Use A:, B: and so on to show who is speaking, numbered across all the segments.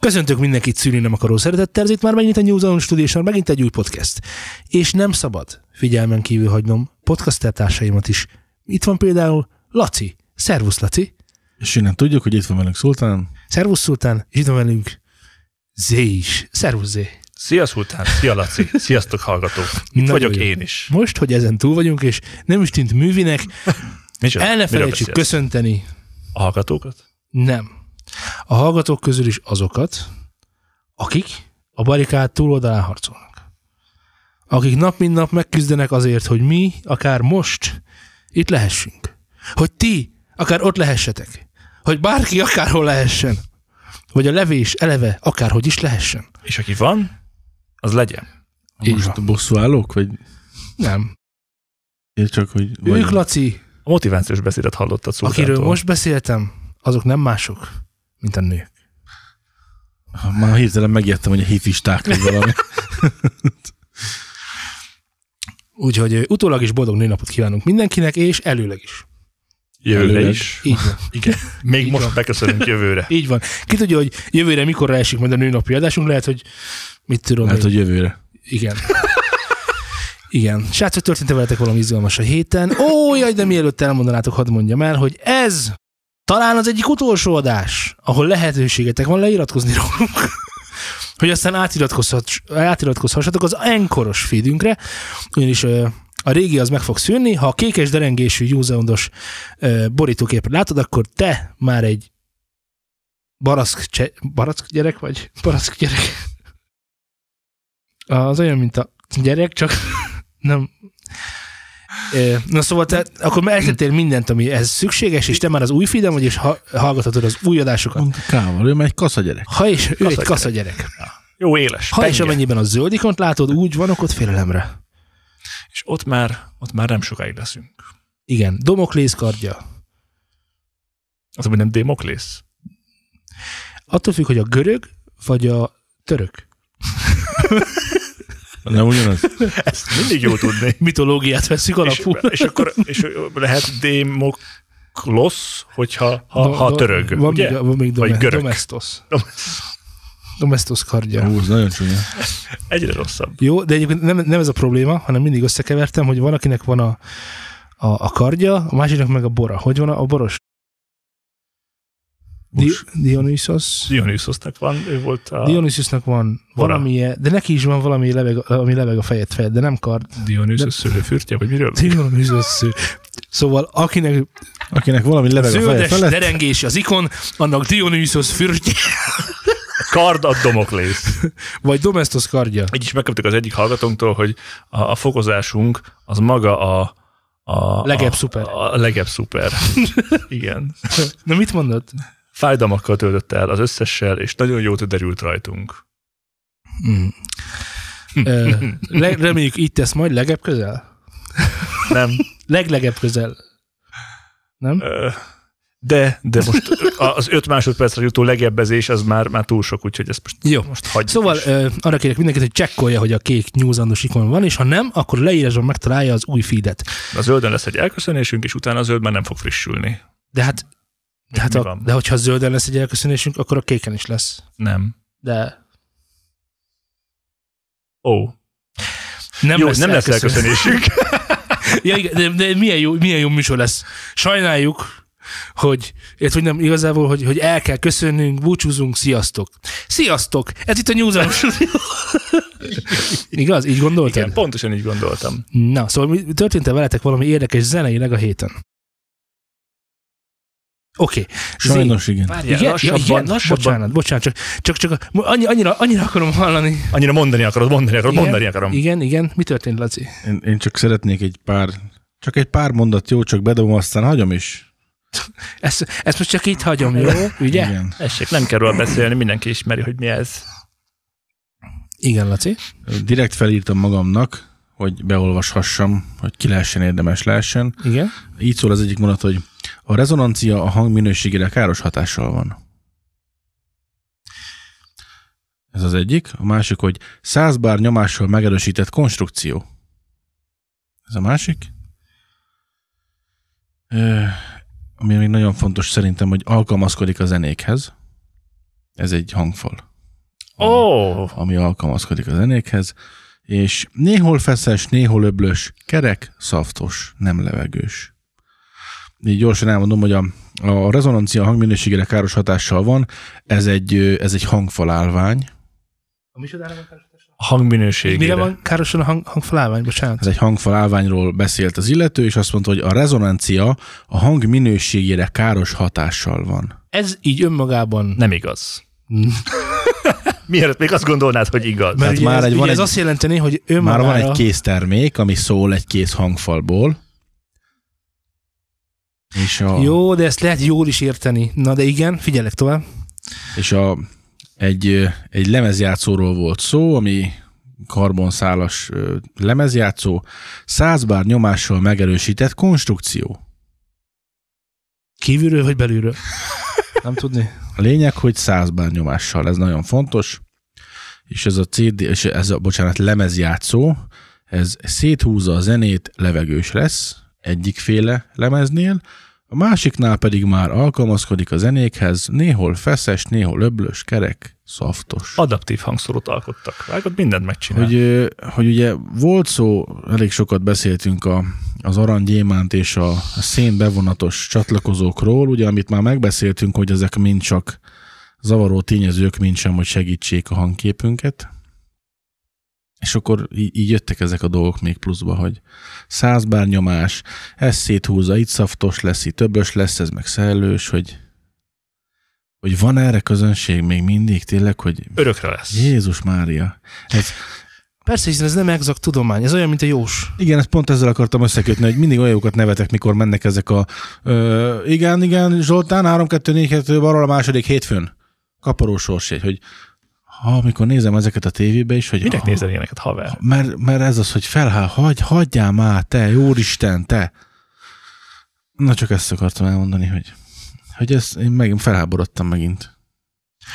A: Köszöntök mindenkit szűrni nem akaró szeretettel, ez itt már megint a New Zealand Studio, és már megint egy új podcast. És nem szabad figyelmen kívül hagynom podcaster társaimat is. Itt van például Laci. Szervusz, Laci.
B: És innen tudjuk, hogy itt van velünk Szultán.
A: Szervusz, Szultán. És itt van velünk Z is. Szervusz, Z.
C: Szia Szultán, szia Laci, sziasztok hallgatók. Itt
A: Nagyon
C: vagyok
A: jó.
C: én is.
A: Most, hogy ezen túl vagyunk, és nem is tűnt művinek,
C: Micsoda?
A: el ne
C: Miről
A: felejtsük
C: beszélsz?
A: köszönteni
C: A hallgatókat?
A: Nem. A hallgatók közül is azokat, akik a barikád túloldalán harcolnak. Akik nap mint nap megküzdenek azért, hogy mi, akár most, itt lehessünk. Hogy ti, akár ott lehessetek. Hogy bárki akárhol lehessen. Vagy a levés eleve akárhogy is lehessen.
C: És aki van, az legyen.
A: Így
B: Most
A: van.
B: bosszúállók, vagy
A: Nem.
B: én csak, hogy...
A: Vagy ők,
B: vagy...
A: Laci,
C: A motivációs beszédet hallottad Szultántól.
A: akiről most beszéltem, azok nem mások, mint a nők.
B: Már hirtelen megijedtem, hogy a hifisták vagy valami.
A: Úgyhogy ö, utólag is boldog nőnapot kívánunk mindenkinek, és előleg is.
C: Jövőre
B: Előleg.
C: is.
A: Így van.
C: Igen. Még
A: Így van.
C: most beköszönünk jövőre.
A: Így van. Ki tudja, hogy jövőre mikorra esik majd a nőnapi adásunk, lehet, hogy mit tudom
B: Lehet,
A: lehet, én.
B: hogy
A: Hogy...
B: jövőre.
A: Igen. Igen. Srácok, történt veletek valami izgalmas a héten? Ó, jaj, de mielőtt elmondanátok, hadd mondjam el, hogy ez talán az egyik utolsó adás, ahol lehetőségetek van leiratkozni rólunk. hogy aztán átiratkozhat, átiratkozhassatok az enkoros feedünkre, ugyanis ö, a régi az meg fog szűnni, ha a kékes derengésű useondos borítóképet látod, akkor te már egy baraszk, cse, baraszk gyerek vagy? Baraszk gyerek. Az olyan, mint a gyerek, csak nem. Ö, Na szóval te akkor már eltettél mindent, ami ez szükséges, és te már az új feedem vagy, és ha, hallgathatod az új adásokat.
B: Mondta Kával, ő már egy kaszagyerek.
A: Ha és ő egy
C: Kaszagyerek.
A: kasza gyerek.
C: Jó éles.
A: Ha és
C: penge.
A: amennyiben a zöldikont látod, úgy van okot félelemre.
C: És ott már, ott már nem sokáig leszünk.
A: Igen, Domoklész kardja.
C: Az, ami nem Démoklész.
A: Attól függ, hogy a görög vagy a török
B: Nem ugyanaz?
C: Ezt mindig jó tudni.
A: mitológiát veszük
C: és,
A: alapul.
C: és, akkor és lehet Démoklosz, hogyha ha,
A: Do-
C: ha
A: do-
C: törög.
A: Van
C: ugye?
A: még, van még
C: Vagy
A: dome,
C: görög.
A: domestos. Domestos kardja.
B: Ó, ez nagyon csúnya.
C: Egyre rosszabb.
A: Jó, de egyébként nem, nem ez a probléma, hanem mindig összekevertem, hogy van, akinek van a, a, a kardja, a másiknak meg a bora. Hogy van a, a boros? Di,
B: Bors.
A: Dionysos?
C: Dionysusnak van, ő volt a...
A: Dionysosnak van
C: Bora.
A: valamilyen, de neki is van valami leveg, ami leveg a fejed fejed, de nem kard.
C: Dionysus szőlőfürtje, vagy miről?
A: Dionysos sző. Szóval akinek
B: Akinek valami leveg a feje
A: zöldes
B: felett,
A: derengés az ikon, annak Dionysos fürtje,
C: Kard a Domoklész.
A: vagy Domestos kardja.
C: Így is megkaptuk az egyik hallgatónktól, hogy a, a fokozásunk az maga a... a
A: Legebb
C: a,
A: szuper.
C: A legebb szuper. Igen.
A: Na mit mondod?
C: Fájdalmakkal töltött el az összessel, és nagyon jót derült rajtunk.
A: Mm. Ö, le- reméljük így tesz majd legebb közel?
C: Nem?
A: Leglegebb közel. Nem?
C: Ö, De, de most a- az öt másodpercre jutó legebbezés az már, már túl sok, úgyhogy ezt most,
A: Jó.
C: most hagyjuk.
A: Szóval
C: is.
A: ö, arra kérek mindenkit, hogy csekkolja, hogy a kék nyúzandos ikon van, és ha nem, akkor leírásban megtalálja az új feedet.
C: a zöldön lesz egy elköszönésünk, és utána a zöld már nem fog frissülni.
A: De hát, de, hát
C: mi
A: a,
C: van?
A: de hogyha zölden lesz egy elköszönésünk, akkor a kéken is lesz.
C: Nem.
A: De
C: Ó,
A: nem
C: jó,
A: lesz,
C: nem lesz
A: elköszönés.
C: elköszönésünk.
A: Ja, igen, de, de milyen, jó, milyen jó műsor lesz. Sajnáljuk, hogy, illetve, hogy nem igazából, hogy, hogy el kell köszönnünk, búcsúzunk, sziasztok. Sziasztok! Ez itt a New Zealand Studio. Igaz? Így gondoltad?
C: Igen, Hát pontosan így gondoltam.
A: Na, szóval mi- történt-e veletek valami érdekes zeneileg a héten? Oké. Okay.
B: sajnos igen.
C: Várjál,
A: Igen, ja, igen, bocsánat, bocsánat, csak, csak, csak annyi, annyira, annyira akarom hallani.
C: Annyira mondani akarod, mondani akarod,
A: Igen.
C: mondani akarom.
A: Igen, igen, mi történt, Laci?
B: Én, én csak szeretnék egy pár, csak egy pár mondat, jó, csak bedobom, aztán hagyom is.
A: Ezt, ezt most csak itt hagyom, jó? Ugye? Igen,
B: Igen.
C: Tessék, nem kell róla beszélni, mindenki ismeri, hogy mi ez.
A: igen Laci.
B: Direkt felírtam magamnak, hogy beolvashassam, hogy ki lehessen érdemes lehessen.
A: Igen.
B: Így szól az egyik mondat, hogy a rezonancia a hang minőségére káros hatással van. Ez az egyik. A másik, hogy 100 bár nyomással megerősített konstrukció. Ez a másik. Ö, ami még nagyon fontos szerintem, hogy alkalmazkodik a zenékhez. Ez egy hangfal.
C: Ó, oh,
B: ami alkalmazkodik a zenékhez, és néhol feszes, néhol öblös, kerek, szaftos, nem levegős. Így gyorsan elmondom, hogy a, a rezonancia a hangminőségére káros hatással van, ez egy, ö, ez egy hangfalálvány,
A: A micsodára van káros hatással? Mire
C: hangminőségére.
A: van károsan a hang, hangfalálvány? Bocsánat.
B: ez egy hangfalálványról beszélt az illető, és azt mondta, hogy a rezonancia a hang minőségére káros hatással van.
A: Ez így önmagában...
C: Nem igaz. Miért még azt gondolnád, hogy igaz?
A: Mert
B: Tehát
A: ugye
B: már
A: ez,
B: egy-
A: ugye
B: van
A: ez
B: egy-
A: azt jelenteni, hogy
B: Már
A: önmagára...
B: van egy kész termék, ami szól egy kész hangfalból, és a,
A: Jó, de ezt lehet jól is érteni. Na de igen, figyelek tovább.
B: és a, egy, ö, egy lemezjátszóról volt szó, ami karbonszálas ö, lemezjátszó, 100 bár nyomással megerősített konstrukció.
A: Kívülről vagy belülről? Nem tudni.
B: A lényeg, hogy 100 bár nyomással, ez nagyon fontos, és ez a CD, és ez a, bocsánat, lemezjátszó, ez széthúzza a zenét, levegős lesz egyikféle lemeznél, a másiknál pedig már alkalmazkodik a zenékhez, néhol feszes, néhol öblös, kerek, szaftos.
C: Adaptív hangszórót alkottak. Vágod, mindent megcsinál.
B: Hogy, ö, hogy ugye volt szó, elég sokat beszéltünk a, az aranygyémánt és a szén bevonatos csatlakozókról, ugye amit már megbeszéltünk, hogy ezek mind csak zavaró tényezők, mint sem, hogy segítsék a hangképünket. És akkor í- így jöttek ezek a dolgok még pluszba, hogy százbár nyomás, ez széthúzza, itt szaftos lesz, itt többös lesz, ez meg szellős, hogy, hogy van erre közönség még mindig tényleg, hogy
C: Örökre lesz.
B: Jézus Mária, ez,
A: Persze, hiszen ez nem exakt tudomány, ez olyan, mint a jós.
B: Igen, ezt pont ezzel akartam összekötni, hogy mindig olyanókat nevetek, mikor mennek ezek a... Ö, igen, igen, Zoltán, 3 2 4 2 balról a második hétfőn. Kaparó sorségy, hogy ha, amikor nézem ezeket a tévébe is, hogy...
C: Minek
B: ha,
C: nézel ilyeneket, haver?
B: Mert, mert ez az, hogy felhá, hagy, hagyjál már, te, Úristen, te. Na csak ezt akartam elmondani, hogy, hogy ezt én megint felháborodtam megint.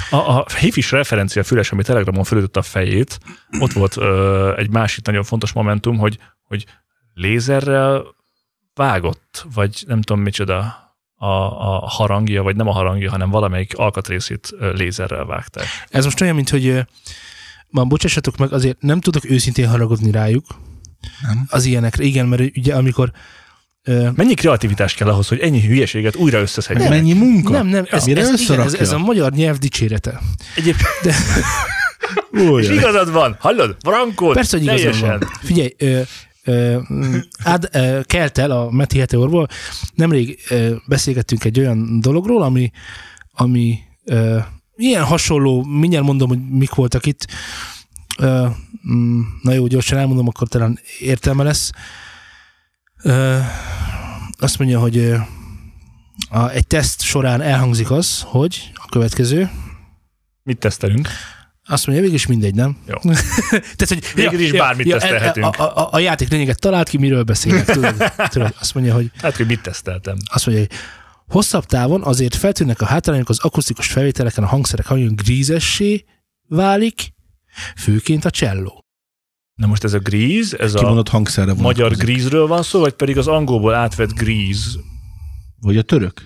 C: A, a hifis referencia füles, ami Telegramon fölütött a fejét, ott volt ö, egy másik nagyon fontos momentum, hogy, hogy lézerrel vágott, vagy nem tudom micsoda, a, a harangja, vagy nem a harangja, hanem valamelyik alkatrészét ö, lézerrel vágták.
A: Ez most olyan, mint hogy ö, ma bocsássatok meg, azért nem tudok őszintén haragudni rájuk.
B: Nem.
A: Az ilyenekre, igen, mert ugye amikor... Ö,
C: Mennyi kreativitás kell ahhoz, hogy ennyi hülyeséget újra összeszedjenek?
B: Meg mennyi munka?
A: nem, nem, ez,
B: Mire
A: ez, igen, ez, ez,
B: összerakja?
A: a magyar nyelv dicsérete.
C: Egyébként, de
B: Új,
C: és igazad van, hallod? Frankó,
A: Persze, hogy igazam
C: teljesen.
A: van. Figyelj, ö, ö, m, Ad, ö, kelt el a Meti Heteorból. Nemrég ö, beszélgettünk egy olyan dologról, ami, ami ö, ilyen hasonló, mindjárt mondom, hogy mik voltak itt. Ö, mm, na jó, gyorsan elmondom, akkor talán értelme lesz. Ö, azt mondja, hogy ö, a, egy teszt során elhangzik az, hogy a következő,
C: Mit tesztelünk?
A: azt mondja, végig is mindegy, nem?
C: Jó.
A: Tehát, hogy
C: Végül is bármit tesztelhetünk.
A: e, A, a, a, a játék lényeget talált ki, miről beszélek. Tudod, tudod, azt mondja, hogy
C: Hát, hogy mit teszteltem.
A: azt mondja, hogy hosszabb távon azért feltűnnek a hátrányok az akusztikus felvételeken, a hangszerek hangja grízessé válik, főként a cselló.
C: Na most ez a gríz, ez a
B: kimondott hangszerre van.
C: magyar grízről van szó, vagy pedig az angolból átvett gríz,
B: Vagy a török?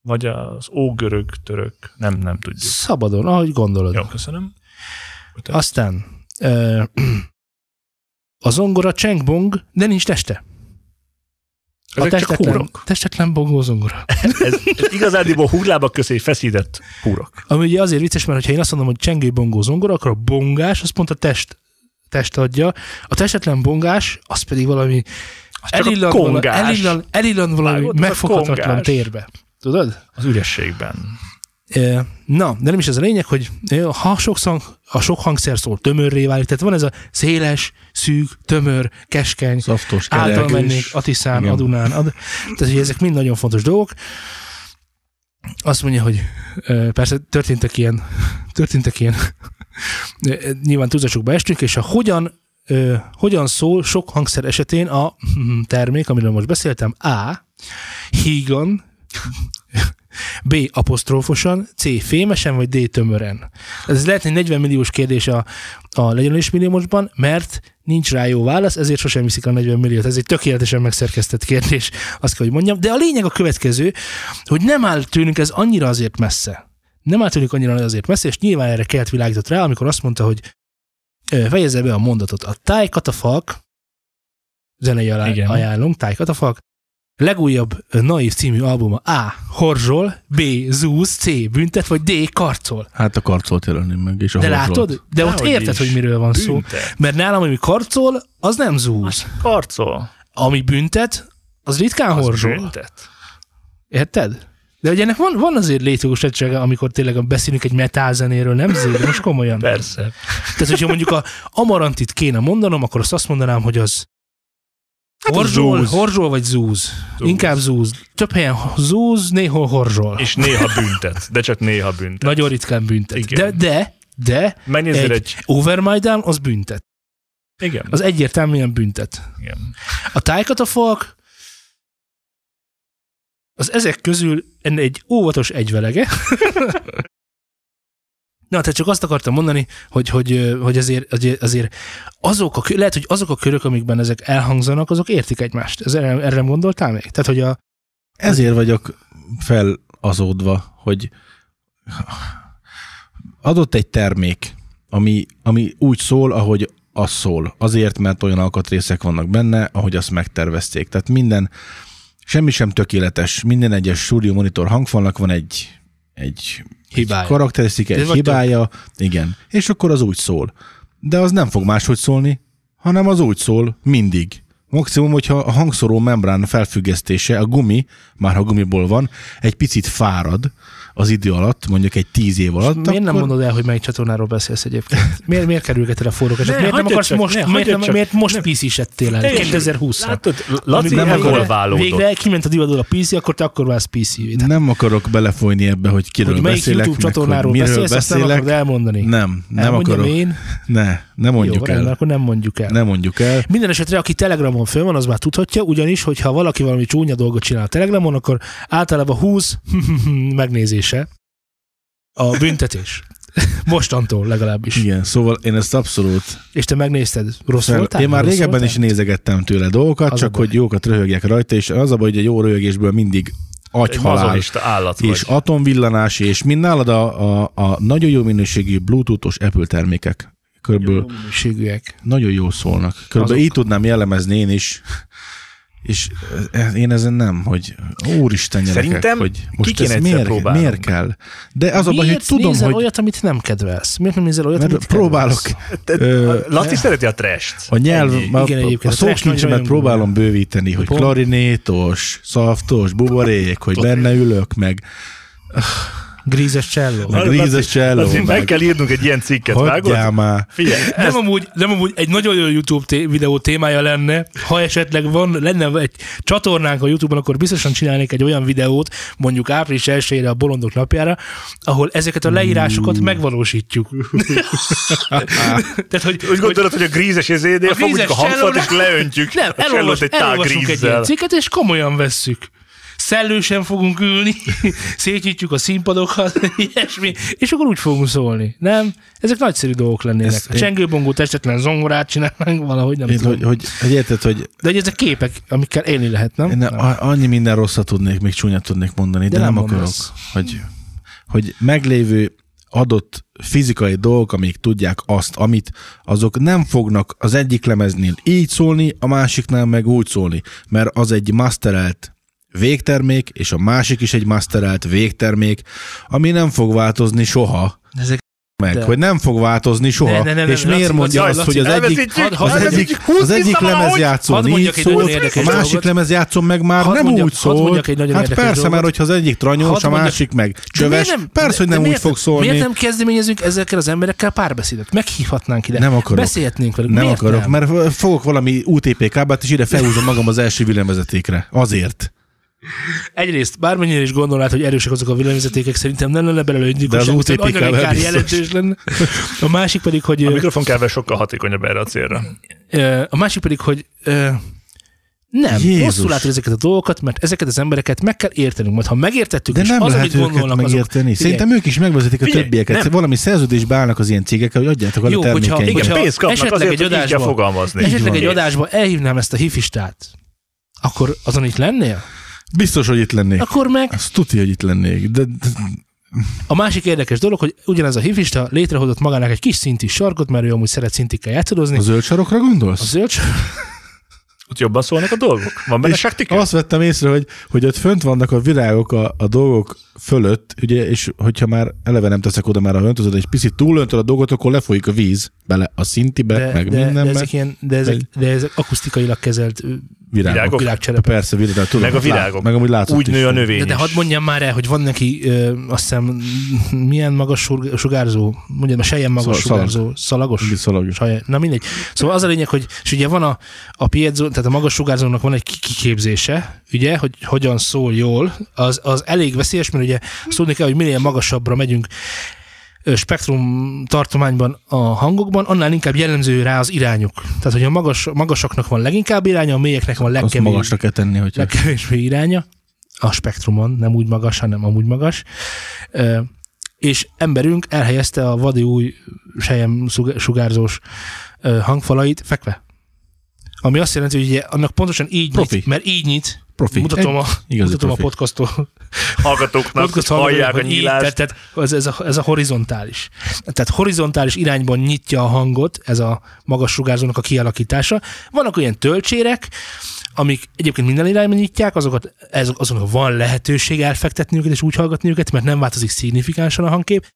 C: vagy az ógörög, török, nem, nem tudjuk.
A: Szabadon, ahogy gondolod.
C: Jó, köszönöm.
A: Aztán ö, a zongora csengbong, de nincs teste. A
C: Ezek csak
A: testetlen,
C: húrok.
A: testetlen bongó zongora.
C: Ez, ez igazándiból húrlábak közé feszített húrok.
A: Ami ugye azért vicces, mert ha én azt mondom, hogy csengő bongó zongora, akkor a bongás az pont a test, test adja. A testetlen bongás, az pedig valami
C: csak a
A: elillan, vala,
C: kongás.
A: elillan, elillan valami
C: Vágod? Az a
A: megfoghatatlan
C: kongás.
A: térbe. Tudod?
C: Az ürességben.
A: E, Na, de nem is ez a lényeg, hogy e, ha sok szang, a sok hangszer szól tömörré válik, tehát van ez a széles, szűk, tömör, keskeny,
B: Szaftos, kerek.
A: által mennék Atiszán,
B: Igen.
A: Adunán, ad, tehát hogy ezek mind nagyon fontos dolgok. Azt mondja, hogy ö, persze történtek ilyen, történtek ilyen, ö, ö, nyilván tudatosokba estünk, és a hogyan, ö, hogyan szól sok hangszer esetén a hm, termék, amiről most beszéltem, A, hígan, B. Aposztrófosan, C. Fémesen, vagy D. Tömören. Ez lehet egy 40 milliós kérdés a, a legyen is milliómosban, mert nincs rá jó válasz, ezért sosem viszik a 40 milliót. Ez egy tökéletesen megszerkesztett kérdés, azt kell, hogy mondjam. De a lényeg a következő, hogy nem áll tőlünk ez annyira azért messze. nem átülük annyira nagy azért messze, és nyilván erre kelt világított rá, amikor azt mondta, hogy ö, fejezze be a mondatot. A Táj Katafalk, zenei alá,
C: Igen.
A: ajánlom, Táj Katafalk, legújabb ö, Naív című albuma A. Horzsol, B. Zúz, C. Büntet, vagy D. Karcol.
B: Hát a karcolt jelölném meg, és a
A: De
B: horzsolt.
A: látod? De ott
C: Dehogy
A: érted,
C: is.
A: hogy miről van szó.
C: Büntet.
A: Mert nálam, ami karcol, az nem zúz.
C: Karcol.
A: Ami büntet, az ritkán
C: Az
A: horzsol.
C: büntet.
A: Érted? De hogy ennek van, van azért létjogosultsága, amikor tényleg beszélünk egy metálzenéről, nem zé, de most komolyan.
C: Persze.
A: Tehát, hogyha mondjuk a amarantit kéne mondanom, akkor azt, azt mondanám, hogy az
C: Hát az
A: horzsol,
C: zúz.
A: horzsol vagy zúz.
C: Zúz.
A: Inkább zúz. Több helyen zúz, néhol horzsol.
C: És néha büntet, de csak néha büntet.
A: Nagyon ritkán büntet. De,
C: Igen.
A: de, de
C: Megnézzél
A: egy,
C: egy...
A: egy over my down, az büntet.
C: Igen.
A: Az egyértelműen büntet.
C: igen.
A: A tájkatafalk az ezek közül en- egy óvatos egyvelege. Na, tehát csak azt akartam mondani, hogy, hogy, ö, hogy azért, azért- azért azok a, kö- lehet, hogy azok a körök, amikben ezek elhangzanak, azok értik egymást. Ez erre, erre nem gondoltál még? Tehát, hogy a,
B: Ezért vagyok felazódva, hogy adott egy termék, ami, ami úgy szól, ahogy az szól. Azért, mert olyan alkatrészek vannak benne, ahogy azt megtervezték. Tehát minden, semmi sem tökéletes. Minden egyes stúdió monitor hangfalnak van egy, egy
A: Hibája.
B: karakterisztika,
A: De
B: egy
A: vagy
B: hibája, igen. És akkor az úgy szól. De az nem fog máshogy szólni, hanem az úgy szól mindig. Maximum, hogyha a hangszoró membrán felfüggesztése, a gumi, már ha gumiból van, egy picit fárad az idő alatt, mondjuk egy tíz év alatt.
A: miért nem mondod el, hogy melyik csatornáról beszélsz egyébként? Miért, miért kerülgeted el a forrókat?
C: Ne,
A: Miért nem
C: hagyjad
A: akarsz
C: csak,
A: most,
C: ne,
A: miért,
C: hagyjad
A: nem,
C: csak.
A: miért most
C: Nem.
A: PC-settél el?
C: Teljesen.
A: 2020-ra.
C: Látod, Laci
A: Amikor
C: evolválódott.
A: Végre kiment a divatból a PC, akkor te akkor válsz pc -vé.
B: Nem akarok belefolyni ebbe, hogy kiről
A: hogy melyik
B: beszélek,
A: YouTube
B: meg
A: csatornáról
B: hogy miről
A: beszélsz, azt nem akarod
B: beszélek.
A: elmondani.
B: Nem, nem
A: Elmondjam
B: akarok.
A: Hát, Én.
B: Ne, ne mondjuk
A: Jó,
B: el.
A: Rendben, akkor nem mondjuk el. Nem.
B: Ne mondjuk el.
A: Minden esetre, aki Telegramon föl van, az már tudhatja, ugyanis, hogyha valaki valami csúnya dolgot csinál a Telegramon, akkor általában 20 megnézése a büntetés. Mostantól legalábbis.
B: Igen, szóval én ezt abszolút
A: És te megnézted, rossz
B: Fel-
A: voltál?
B: Én már
A: Rossz
B: régebben
A: voltál?
B: is nézegettem tőle dolgokat,
A: Az
B: csak
A: a baj.
B: hogy jókat röhögjek rajta, és az a baj, hogy egy jó röhögésből mindig
C: Egy
B: agyhalál,
C: mazonista állat
B: és
C: és vagy.
B: atomvillanás, és mind nálad a, a, a nagyon jó minőségű bluetoothos Apple termékek körülbelül
A: Jó minőségűek.
B: nagyon jó szólnak. Körülbelül
A: Azok.
B: így tudnám jellemezni én is, és e- én ezen nem, hogy úristen gyerekek,
C: Szerintem
B: hogy
C: ki
B: most
C: kéne
B: ez
C: egyszer
B: miért,
C: próbálnunk.
B: miért kell. De az a baj, hogy
A: Miért
B: tudom,
A: nézel
B: hogy
A: olyat, amit nem kedvelsz? Miért nem nézel olyat,
B: mert
A: amit
B: próbálok
A: kedvelsz?
B: ö,
C: Laci szereti a trest.
B: A nyelv,
C: Ennyi.
B: a,
A: Igen, egyébként
B: a,
A: a
B: a
A: trash
B: szókincsemet
A: nagyon-nagyon
B: próbálom bővíteni, hogy
A: Pont.
B: klarinétos, szaftos, buborék, hogy benne ülök, meg,
A: Grízes cselló.
B: meg
C: Laci-
B: rízes cselló,
C: Laci, meg
B: meg
C: kell írnunk egy ilyen cikket,
B: hagyjál
C: vágod?
B: már.
C: Figyelj,
A: Nem amúgy, nem amúgy egy nagyon jó YouTube té- videó témája lenne, ha esetleg van, lenne egy csatornánk a YouTube-on, akkor biztosan csinálnék egy olyan videót, mondjuk április 1 a Bolondok napjára, ahol ezeket a leírásokat
B: Hmm.
A: megvalósítjuk. Tehát, hogy,
C: úgy gondolod, hogy a grízes ezénél
A: A
C: fogjuk a
A: grízes
C: hangfalt, és
A: csellónak-
C: leöntjük.
A: nem,
C: a csellót
A: elolvas,
C: egy tál
A: elolvasunk egy ilyen
C: grízzel.
A: cikket, és komolyan vesszük. Szellősen fogunk ülni, szétnyitjuk a színpadokat, ilyesmi, és akkor úgy fogunk szólni, nem? Ezek nagyszerű dolgok lennének.
B: Ezt
A: a
B: én-
A: csengőbongó testetlen zongorát csinálnánk valahogy, nem
B: Én,
A: tudom.
B: hogy, hogy, hogy érted, hogy
A: De hogy ezek képek, amikkel élni lehet, nem?
B: én
A: nem.
B: a- annyi minden rosszat tudnék, még csúnyát tudnék mondani, de,
A: De nem
B: nem, akarok,
A: mondasz.
B: hogy, hogy meglévő adott fizikai dolgok, amik tudják azt, amit, azok nem fognak az egyik lemeznél így szólni, a másiknál meg úgy szólni, mert az egy masterelt végtermék, és a másik is egy masterelt végtermék, ami nem fog változni soha.
A: Ezek
B: Meg,
A: De.
B: hogy nem fog változni soha.
A: Ne, ne, ne, ne,
B: és
A: Laci,
B: miért
A: Laci,
B: mondja
A: Laci,
B: azt, hogy az egyik
C: elveszítjük,
A: az
B: az
A: elveszítjük,
B: egyik,
C: elveszítjük, húzd
B: az egyik
C: vissza valahogy.
B: lemez játszó
A: Hadd
B: így
A: mondjak egy
B: szól,
A: nagyon érdekes
B: a másik
A: dolgot.
B: lemez játszó meg már
A: Hadd
B: nem
A: mondjak-
B: úgy
A: hadd
B: szól.
A: mondjak egy nagyon
B: Hát
A: érdekes
B: persze,
A: dolgot.
B: mert hogyha az egyik
A: Hadd
B: tranyós, a
A: mondjak-
B: másik meg
A: De miért
B: csöves, persze, hogy
A: de
B: nem úgy
A: miért
B: fog szólni.
A: Miért nem kezdeményezünk ezekkel az emberekkel párbeszédet? Meghívhatnánk ide.
B: Nem akarok.
A: Beszélhetnénk velük.
B: Nem
A: miért
B: akarok,
A: nem?
B: mert fogok valami UTP kábelt, és ide felhúzom magam az első villámvezetékre. Azért.
A: Egyrészt, bármennyire is gondolnád, hogy erősek azok a villamvezetékek, szerintem nem lenne belőle egy
B: De az
A: gyilkosság,
B: OTP
A: nagyon
B: kábel
A: inkább
B: biztos.
A: jelentős lenne. A másik pedig, hogy...
C: A
A: ö,
C: mikrofonkável sokkal hatékonyabb erre a célra.
A: ö, A másik pedig, hogy... ö, Nem,
B: Jézus.
A: rosszul látod ezeket a dolgokat, mert ezeket az embereket meg kell értenünk, majd ha megértettük,
B: De
A: és
B: nem
A: az,
B: lehet
A: amit
B: őket
A: gondolnak, azok...
B: megérteni. Szerintem ők is megvezetik a
C: Figyelj,
B: többieket.
C: nem.
B: Valami szerződésbe állnak az ilyen cégekkel, hogy adjátok el a
A: Jó, hogyha-
B: termékeinket.
C: Igen,
A: Hogyha
C: pénzt kapnak
A: esetleg
C: azért,
A: egy
C: hogy így kell
A: adásban-
C: fogalmazni.
A: Esetleg
B: van.
A: egy adásba elhívnám ezt a hifistát, akkor azon itt lennél?
B: Biztos, hogy itt lennék.
A: Akkor meg
B: Azt tudja, hogy itt lennék, de de
A: A másik érdekes dolog, hogy ugyanez a hifista létrehozott magának egy kis szinti sarkot, mert ő amúgy szeret szintikkel játszadozni.
B: A zöld sarokra gondolsz?
A: A zöld sarok-
C: Ott jobban szólnak a dolgok. Van benne
B: És
C: taktika?
B: Azt vettem észre, hogy, hogy ott fönt vannak a virágok a, a dolgok fölött, ugye, és hogyha már eleve nem teszek oda már a öntözöd, és picit túlöntöd a dolgot, akkor lefolyik a víz bele a szintibe,
A: de,
B: meg
A: de, de,
B: mindenbe.
A: ezek ilyen, de, ezek,
B: Egy-
A: de ezek akusztikailag kezelt ö,
B: virágok. Hát
C: Virágok.
A: világcserepek.
B: Persze, virágok. Tudom,
C: Meg a
B: lát-
C: virágok.
B: Meg amúgy látszott
C: Úgy
B: is.
C: nő a növény
A: De, de hadd
C: is.
A: mondjam már el, hogy van neki, ö, azt hiszem, milyen magas sur- sugárzó, mondjam, a sejjen magas
B: Szal- szalag.
A: sugárzó, szalagos.
B: Mindig szalagos.
A: Saj, na mindegy. Szóval az a lényeg, hogy és ugye van a, a piezo, tehát a magas sugárzónak van egy ki- kiképzése, ugye, hogy hogyan szól jól, az, az elég veszélyes, mert ugye azt tudni kell, hogy minél magasabbra megyünk ö, spektrum tartományban a hangokban, annál inkább jellemző rá az irányuk. Tehát, hogy a magas, magasaknak van leginkább iránya, a mélyeknek van
B: Azt
A: legkeményebb
B: magasra kell tenni, hogyha
A: legkevésbé iránya a spektrumon, nem úgy magas, hanem amúgy magas. Ö, és emberünk elhelyezte a vadi új sejem szug- sugárzós ö, hangfalait fekve. Ami azt jelenti, hogy ugye annak pontosan így
B: Profi.
A: nyit, mert így nyit,
B: profi.
A: mutatom a,
B: Igazi
A: mutatom a
B: profi.
A: podcastot,
C: Hallgatóknak
A: Podcast
C: hallják a
A: hogy így,
C: nyílást.
A: Tehát, tehát ez, ez, a, ez a horizontális. Tehát horizontális irányban nyitja a hangot, ez a magas sugárzónak a kialakítása. Vannak olyan töltsérek, amik egyébként minden irányban nyitják, azokat, ez, azonok van lehetőség elfektetni őket és úgy hallgatni őket, mert nem változik szignifikánsan a hangkép.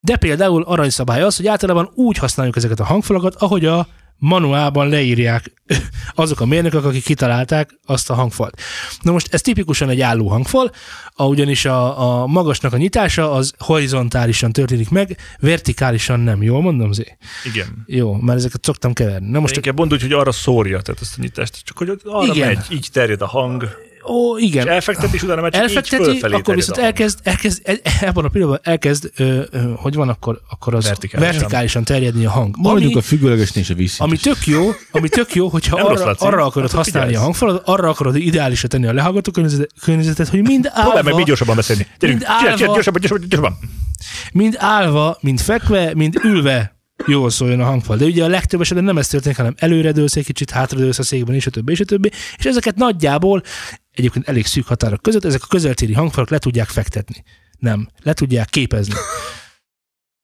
A: De például aranyszabály az, hogy általában úgy használjuk ezeket a hangfalakat, ahogy a manuálban leírják azok a mérnökök, akik kitalálták azt a hangfalt. Na most ez tipikusan egy álló hangfal, a- ugyanis a, a magasnak a nyitása az horizontálisan történik meg, vertikálisan nem, jól mondom, Zé?
C: Igen.
A: Jó, mert ezeket szoktam keverni. Na most,
C: Most inkább mondd úgy, hogy arra szórja, tehát ezt a nyitást, csak hogy arra
A: Igen.
C: Igen. megy, így terjed a hang,
A: ó,
C: és
A: igen,
C: elfektet, és utána megy, csak így
A: elfekteti,
C: fölfelé
A: akkor
C: terjed
A: viszont
C: a hang.
A: elkezd, elkezd, e- ebben a pillanatban elkezd, ö, ö, hogy van akkor, akkor az vertikálisan,
C: Vertikálisan.
A: vertikálisan terjedni a hang.
B: Maradjunk a függőlegesnél és a vízszinten.
A: Ami tök jó, ami tök jó, hogyha
C: Nem rossz,
A: arra,
C: Laci.
A: arra akarod
C: Akkor
A: használni a
C: figyelsz.
A: hangfalat, arra akarod ideálisra tenni a lehallgató környezetet- környezetet, hogy mind
C: Próbálj meg
A: állva,
C: még gyorsabban beszélni. Gyerünk,
A: Mind
C: csinálj,
A: állva-
C: csinálj, gyorsabban, gyorsabban, gyorsabban.
A: mind állva, mind fekve, mind ülve jól szóljon a hangfal. De ugye a legtöbb esetben nem ez történik, hanem előre dőlsz egy kicsit, hátra dőlsz a székben, és a többi, és a többi. És ezeket nagyjából egyébként elég szűk határok között, ezek a közeltéri hangfalak le tudják fektetni. Nem, le tudják képezni.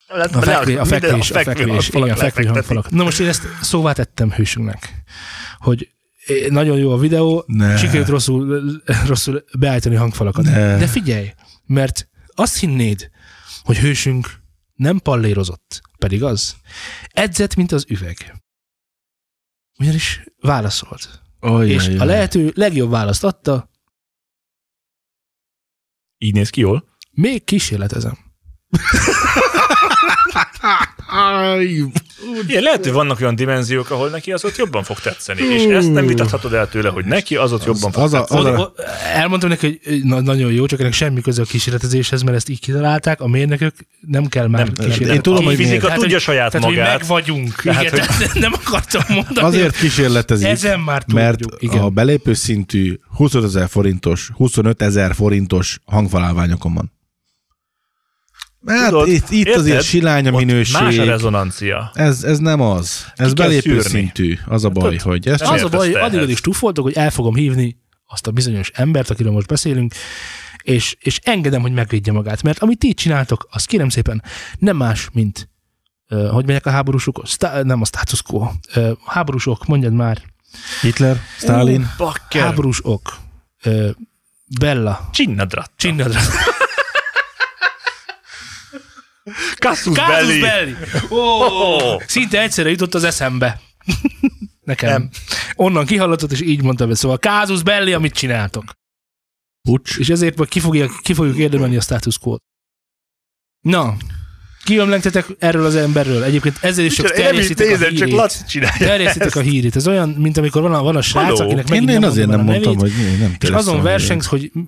A: A fekvő, a fekvés, a fekvés, igen, a fekvő hangfalak. Na most én ezt szóvá tettem hősünknek, hogy eh, nagyon jó a videó,
B: Ne.
A: sikerült rosszul, rosszul beállítani a hangfalakat.
B: Ne.
A: De figyelj, mert azt hinnéd, hogy hősünk nem pallérozott, pedig az. Edzett, mint az üveg. Ugyanis válaszolt.
B: Ajjaj,
A: és a
B: ajjaj.
A: lehető legjobb választ adta,
C: Így néz ki jól.
A: még kísérletezem.
C: Igen, lehet, hogy vannak olyan dimenziók, ahol neki az ott jobban fog tetszeni, és ezt nem vitathatod el tőle, hogy neki az ott jobban fog
B: az a, az
A: Oda,
B: a,
A: o- elmondtam neki, hogy na, nagyon jó, csak ennek semmi köze a kísérletezéshez, mert ezt így kitalálták, a mérnökök nem kell már
C: Nem,
A: kísérletezni.
B: én tudom,
C: A
B: hogy
C: fizika
B: miért.
C: tudja saját
A: tehát,
C: magát.
A: Hát, Hogy meg vagyunk.
C: Tehát,
A: igen, tehát nem akartam mondani.
B: azért kísérletezik,
A: Ezen már tudjuk,
B: mert
A: igen.
B: a belépő szintű 25 ezer forintos, 25 ezer forintos hangfalálványokon van. Hát
C: Tudod,
B: itt, itt
C: érted?
B: azért silány a
C: Ott Más a
B: minőség.
C: rezonancia.
B: Ez, ez nem az. Ez
C: Ki kell
B: belépő
C: szűrni. Hát
B: szintű. Az a baj,
C: Tudod,
B: hogy ez
C: nem
A: Az a
C: értesz
A: baj,
C: te
A: hogy addig
C: ehhez.
A: is túlfoltok, hogy el fogom hívni azt a bizonyos embert, akiről most beszélünk, és, és engedem, hogy megvédje magát. Mert amit ti csináltok, az kérem szépen nem más, mint ö, hogy megyek a háborúsok? Sztá- nem a status quo. Ö, háborúsok, mondjad már.
B: Hitler, Stalin.
C: Bakker.
A: Háborúsok. Ö, Bella.
C: Csinnadrat.
A: Csinnadra.
C: Kassus
A: Kázus
C: belli.
A: Belli! Oh, szinte egyszerre jutott az eszembe. Nekem. Nem. Onnan kihallatott, és így mondtam ezt. Szóval Kázus Belli, amit csináltok.
B: Pucs.
A: És ezért majd ki, fogja, ki fogjuk érdemelni a status quo Na, kiömlengtetek erről az emberről. Egyébként ezzel is csak
C: Én nem is
A: terjesztitek a
C: nézem, csak
A: hírét.
C: Laci csinálja.
A: Terjesztitek a hírét. Ez olyan, mint amikor van a, van a srác,
C: Hello.
A: akinek
B: Én,
A: megint
B: én
A: nem
B: azért nem
A: mondom el a
B: mondtam,
A: nevét,
B: hogy én nem
A: és
B: terjesztem
A: azon
B: a
A: versenysz, hogy m-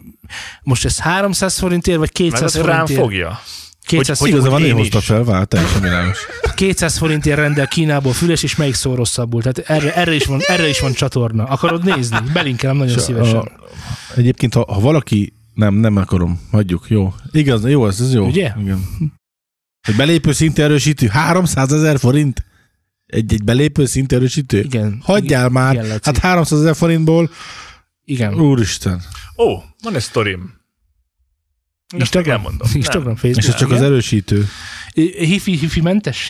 A: most ez 300 forintért, vagy
C: Mert
A: 200
C: az rám
A: forintért,
C: fogja.
A: 200,
C: hogy
B: nevét. Igaza van,
C: Én
B: én
C: is.
B: hozta fel, vár, teljesen világos.
A: 200 forintért rendel Kínából füles, és melyik szó rosszabbul. Tehát erre, erre, is van, erre is van csatorna. Akarod nézni? Belinkelem nagyon
B: És
A: szívesen.
B: A, egyébként, ha, ha valaki... Nem, nem akarom. Hagyjuk. Jó. Igaz, jó, ez, ez jó.
A: Ugye?
B: Igen. Egy belépő szint erősítő. 300 ezer forint? Egy, egy belépő szint erősítő?
A: Igen.
B: Hagyjál már.
A: Igen, Laci.
B: hát 300 ezer forintból,
A: Igen.
B: úristen.
C: Ó, van egy sztorim. Ezt meg elmondom.
A: Instagram,
C: Nem.
A: Facebook.
B: És ez csak
A: igen.
B: az e- erősítő.
A: Hifi, hifi mentes?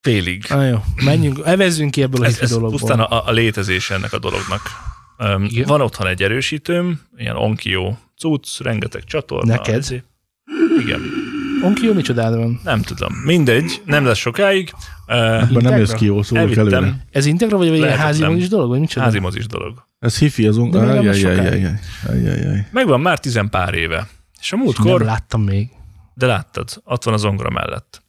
C: Félig.
A: Na jó, menjünk, evezzünk ki ebből a
C: Ez,
A: hifi
C: ez
A: dologból.
C: pusztán a, a létezés ennek a dolognak. Um,
A: Igen.
C: van otthon egy erősítőm, ilyen Onkyo cucc, rengeteg csatorna.
A: Neked?
C: ezé- Igen,
A: Onkyo, micsodád van?
C: nem tudom. Mindegy, nem lesz sokáig. Uh,
B: Ebben nem
A: Integra?
B: jössz ki jó, szólok előre.
C: elvittem,
A: Ez integra vagy, vagy egy
C: Lehetetlen.
A: házi is dolog, vagy micsoda?
C: házimozis dolog.
B: Ez hifi az on...
A: De még nem lesz sokáig.
B: Ajjajjaj.
C: Megvan már tizen pár éve. És a
A: Nem
C: múltkor,
A: láttam még.
C: de láttad, ott van az zongora mellett.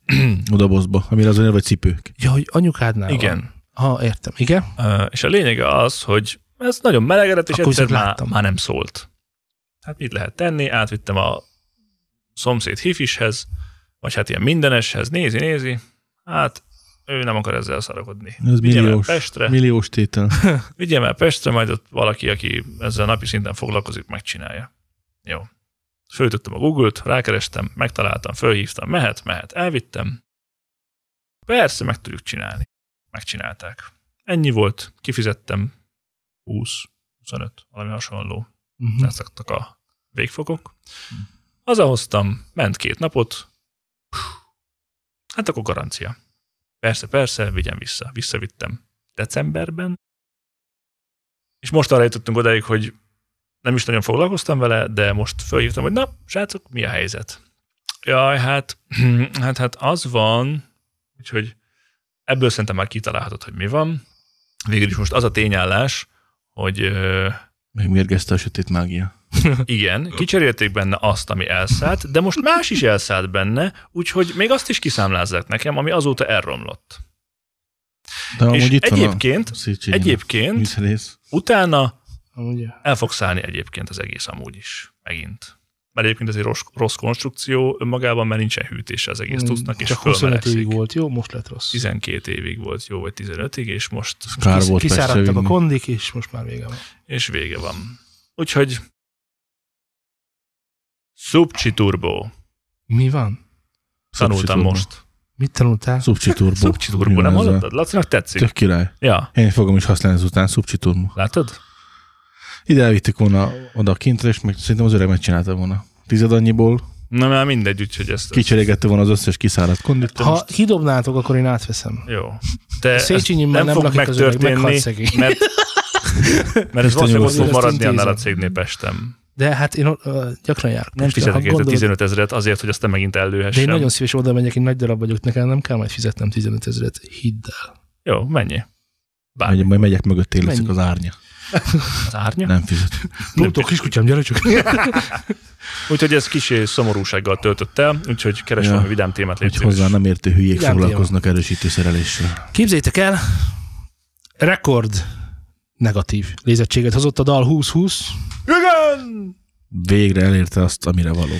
B: Odabozba, amire az anyja vagy cipők.
A: Ja, hogy anyukádnál
C: Igen.
A: Van. Ha, értem. Igen?
C: Ö, és a lényege az, hogy ez nagyon melegedett, és
A: Akkor
C: egyszer
A: viszont
C: már,
A: láttam.
C: már nem szólt. Hát mit lehet tenni? Átvittem a szomszéd hifishez, vagy hát ilyen mindeneshez, nézi, nézi, hát ő nem akar ezzel szarakodni.
B: Ez
C: Vigyem el
B: milliós,
C: Pestre,
B: milliós tétel.
C: vigyem el Pestre, majd ott valaki, aki ezzel napi szinten foglalkozik, megcsinálja. Jó. Föltöttem a Google-t, rákerestem, megtaláltam, fölhívtam, mehet, mehet, elvittem. Persze, meg tudjuk csinálni. Megcsinálták. Ennyi volt, kifizettem 20, 25, valami hasonló.
A: Uh-huh.
C: Leszaktak a végfogok. Hazahoztam, ment két napot. Hát akkor garancia. Persze, persze, vigyem vissza. Visszavittem decemberben. És most arra jutottunk odáig, hogy nem is nagyon foglalkoztam vele, de most fölhívtam, hogy na, srácok, mi a helyzet? Jaj, hát, hát, hát az van, úgyhogy ebből szerintem már kitalálhatod, hogy mi van. Végül is most az a tényállás, hogy ö,
B: Megmérgezte a sötét mágia.
C: igen, kicserélték benne azt, ami elszállt, de most más is elszállt benne, úgyhogy még azt is kiszámlázzák nekem, ami azóta elromlott.
B: De amúgy
C: És
B: itt
C: egyébként,
B: van a Széchenyi
C: egyébként
B: műszerész.
C: utána
A: Amúgy,
C: el fog szállni egyébként az egész amúgy is, megint. Mert egyébként ez egy rossz, rossz konstrukció önmagában, mert nincsen hűtése az egész
A: mm,
C: tusznak, és
A: Csak 25
C: fölmelegszik.
A: évig volt jó, most lett rossz.
C: 12 évig volt jó, vagy 15-ig, és most
B: Kár
A: Kisz-
B: volt
A: Kiszáradtak
B: persze
A: a
B: vinni.
A: kondik, és most már vége van.
C: és vége van. Úgyhogy Subcsi Turbo.
A: Mi van?
C: Tanultam
B: Subcsi
C: most.
A: Mit tanultál?
B: Subcsi turbo.
C: Subcsi
B: Mi
C: Turbo,
B: van
C: nem
B: ezzel?
C: hallottad? Lacinak tetszik.
B: Tök király.
C: Ja,
B: Én fogom is használni ezután, Subcsi turbo.
C: látod?
B: Ide elvittük volna oda kintre, és meg szerintem az öreg megcsinálta volna. Tized annyiból,
C: Na már mindegy, úgyhogy ezt...
B: kicserégette volna az összes kiszáradt kondit.
A: Ha kidobnátok, akkor én átveszem.
C: Jó. De
A: Széchenyi
C: ez
A: már nem
C: fog
A: lakik az öreg, meghalt szegény.
C: mert, mert ez
B: Isten
C: valószínűleg ott
B: nyugosztja.
C: fog
A: Ezt
C: maradni
A: intézem.
C: annál a cégnél Pestem.
A: De hát én uh, gyakran járok.
C: Nem
A: Pestre.
C: fizetek
A: Ha
C: érte
A: gondolod-
C: 15 ezeret azért, hogy aztán megint
A: De
C: ellőhessem.
A: én nagyon szíves oda megyek, én nagy darab vagyok, nekem nem kell majd fizetnem 15 ezeret, hidd el.
C: Jó, mennyi? Bár
B: Majd, majd megyek mögött éleszek
A: Mennyi?
B: az árnya.
C: az árnya.
B: Nem fizet.
A: Lótó, kiskutyám, gyere csak.
C: Úgyhogy ez kis szomorúsággal töltött el, úgyhogy keres
B: Ja.
C: valami vidám témát légy
B: Hogy
C: szíves.
B: hozzá nem értő hülyék
A: Igen,
B: foglalkoznak erősítő szereléssel.
A: Képzeljétek el, rekord negatív nézettséget hozott a dal 2020.
C: Igen!
B: Végre elérte azt, amire való.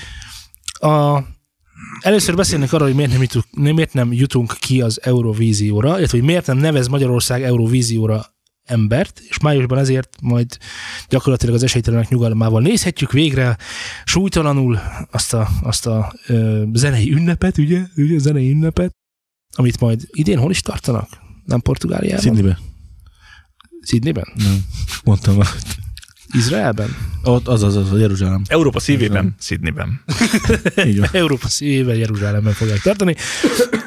A: A, először beszélnek arról, hogy miért nem, jutunk, nem- miért nem jutunk ki az Eurovízióra, illetve hogy miért nem nevez Magyarország Eurovízióra embert, és májusban ezért majd gyakorlatilag az esélytelenek nyugalmával nézhetjük végre súlytalanul azt a, azt a ö, zenei ünnepet, ugye? ugye? Zenei ünnepet, amit majd idén hol is tartanak? Nem Portugáliában?
B: Szindibe?
A: Sydneyben?
B: Nem. Mondtam.
A: Izraelben?
B: Ott az az, az, a Jeruzsálem.
C: Európa szívében, Sydneyben.
B: Így van.
A: Európa szívében Jeruzsálemben fogják tartani.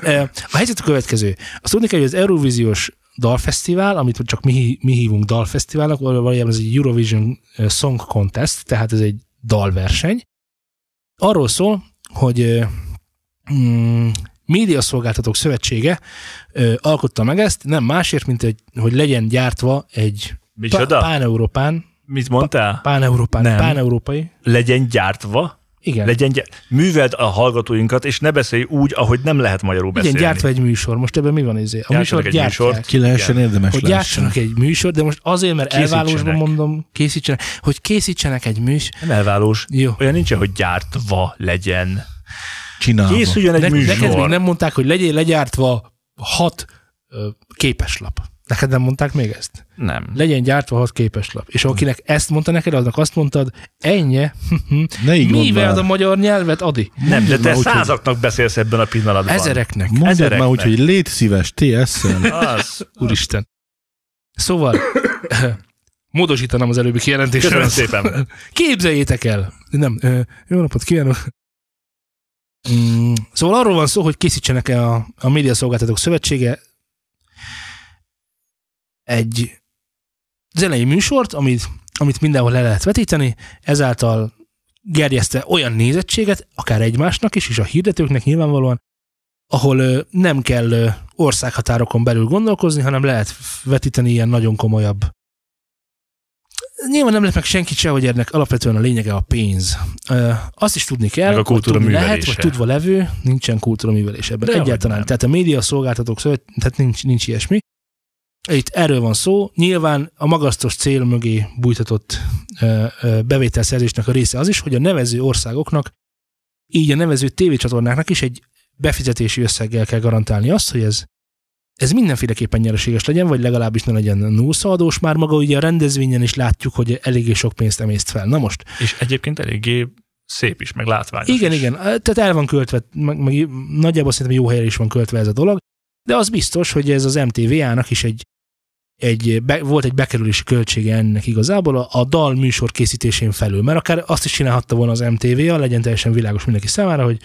A: Eh, A helyzet a következő. Azt tudni kell, hogy az Eurovíziós dalfesztivál, amit csak mi, hí- mi hívunk dalfesztiválnak, val- valójában ez egy Eurovision eh, Song Contest, tehát ez egy dalverseny. Arról szól, hogy eh, mm, Médiaszolgáltatók Szövetsége ö, alkotta meg ezt, nem másért, mint egy, hogy legyen gyártva egy pa-
C: Micsoda?
A: pán-európán,
C: Mit mondtál?
A: pán-európán,
C: Nem.
A: pán-európai.
C: Legyen gyártva?
A: Igen.
C: Legyen gyárt. Műveld a hallgatóinkat, és ne beszélj úgy, ahogy nem lehet magyarul
A: Legyen
C: beszélni.
A: gyártva egy műsor. Most ebben mi van izé? A
C: Gyártsanak
A: műsor
C: egy
A: gyártják.
C: műsort.
B: Ki lehessen érdemes
A: Hogy
B: lehessen.
A: gyártsanak egy műsor, de most azért, mert
C: Készítsenek.
A: elválósban mondom, készítsenek, hogy készítsenek egy műs.
C: Nem elválós.
A: Jó.
C: Olyan nincsen, hogy gyártva legyen.
B: Csinálva.
C: Készüljön egy
A: Ne, neked még
C: műsor.
A: nem mondták, hogy legyél legyártva hat ö, képeslap. Neked nem mondták még ezt?
C: Nem.
A: Legyen gyártva hat képeslap. És akinek ezt mondta neked, aznak azt mondtad, ennyi.
B: Ne így mondd
A: Mivel a
B: már.
A: magyar nyelvet, Adi?
C: Nem, de te
B: Mondjuk már úgy,
C: százaknak beszélsz ebben a pillanatban.
A: Ezereknek.
B: Mondjad már
C: ezereknek.
B: úgy, hogy légy szíves, TS-szel.
C: Az.
A: Úristen. Szóval, módosítanám az előbbi kijelentésre.
C: Köszönöm szépen.
A: Képzeljétek el! Nem, ö, jó napot kívánok! Mm, Szóval arról van szó, hogy készítsenek el a, a Médiaszolgáltatók Szövetsége egy zenei műsort, amit, amit mindenhol le lehet vetíteni, ezáltal gerjeszte olyan nézettséget, akár egymásnak is, és a hirdetőknek nyilvánvalóan, ahol ö, nem kell ö, országhatárokon belül gondolkozni, hanem lehet vetíteni ilyen nagyon komolyabb nyilván nem lett meg senkit se, hogy ennek alapvetően a lényege a pénz. Ö, Azt is tudni kell,
C: Meg a
A: hogy
C: kultúra
A: tudni lehet,
C: művelése.
A: vagy tudva levő, nincsen kultúra művelés ebben.
C: Dehogy
A: Egyáltalán.
C: nem.
A: Tehát a média szolgáltatók szövet, tehát nincs, nincs ilyesmi. Itt erről van szó. Nyilván a magasztos cél mögé bújtatott ö, ö, bevételszerzésnek a része az is, hogy a nevező országoknak, így a nevező tévécsatornáknak is egy befizetési összeggel kell garantálni azt, hogy ez ez mindenféleképpen nyereséges legyen, vagy legalábbis ne legyen nullszaladós, már maga ugye a rendezvényen is látjuk, hogy eléggé sok pénzt emészt fel. Na most,
C: És egyébként eléggé szép is, meg látványos
A: igen,
C: is.
A: igen, tehát el van költve, meg, meg nagyjából szerintem jó helyre is van költve ez a dolog, de az biztos, hogy ez az MTVA-nak is egy, egy be, volt egy bekerülési költsége ennek igazából a, a dal műsor készítésén felül, mert akár azt is csinálhatta volna az MTVA, legyen teljesen világos mindenki számára, hogy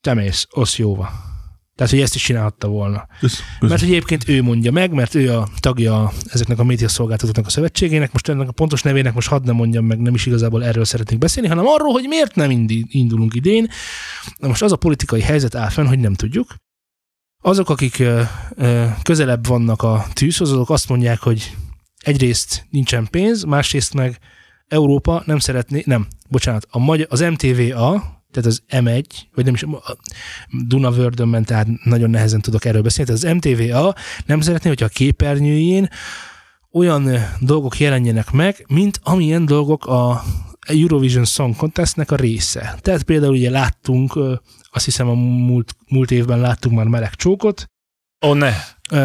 A: te mész, osz jóva. Tehát, hogy ezt is csinálhatta volna. Mert hogy egyébként ő mondja meg, mert ő a tagja ezeknek a médiaszolgáltatóknak a szövetségének, most ennek a pontos nevének most hadd nem mondjam meg, nem is igazából erről szeretnék beszélni, hanem arról, hogy miért nem indi- indulunk idén. Na most az a politikai helyzet áll fenn, hogy nem tudjuk. Azok, akik ö, ö, közelebb vannak a tűzhoz, azok azt mondják, hogy egyrészt nincsen pénz, másrészt meg Európa nem szeretné, nem, bocsánat, a magyar, az MTVA, tehát az M1, vagy nem is, a Dunavördön ment, tehát nagyon nehezen tudok erről beszélni, tehát az MTVA nem szeretné, hogyha a képernyőjén olyan ö, dolgok jelenjenek meg, mint amilyen dolgok a Eurovision Song Contestnek a része. Tehát például ugye láttunk, ö, azt hiszem a múlt, múlt évben láttunk már meleg csókot.
C: Ó, ne,
A: Ö,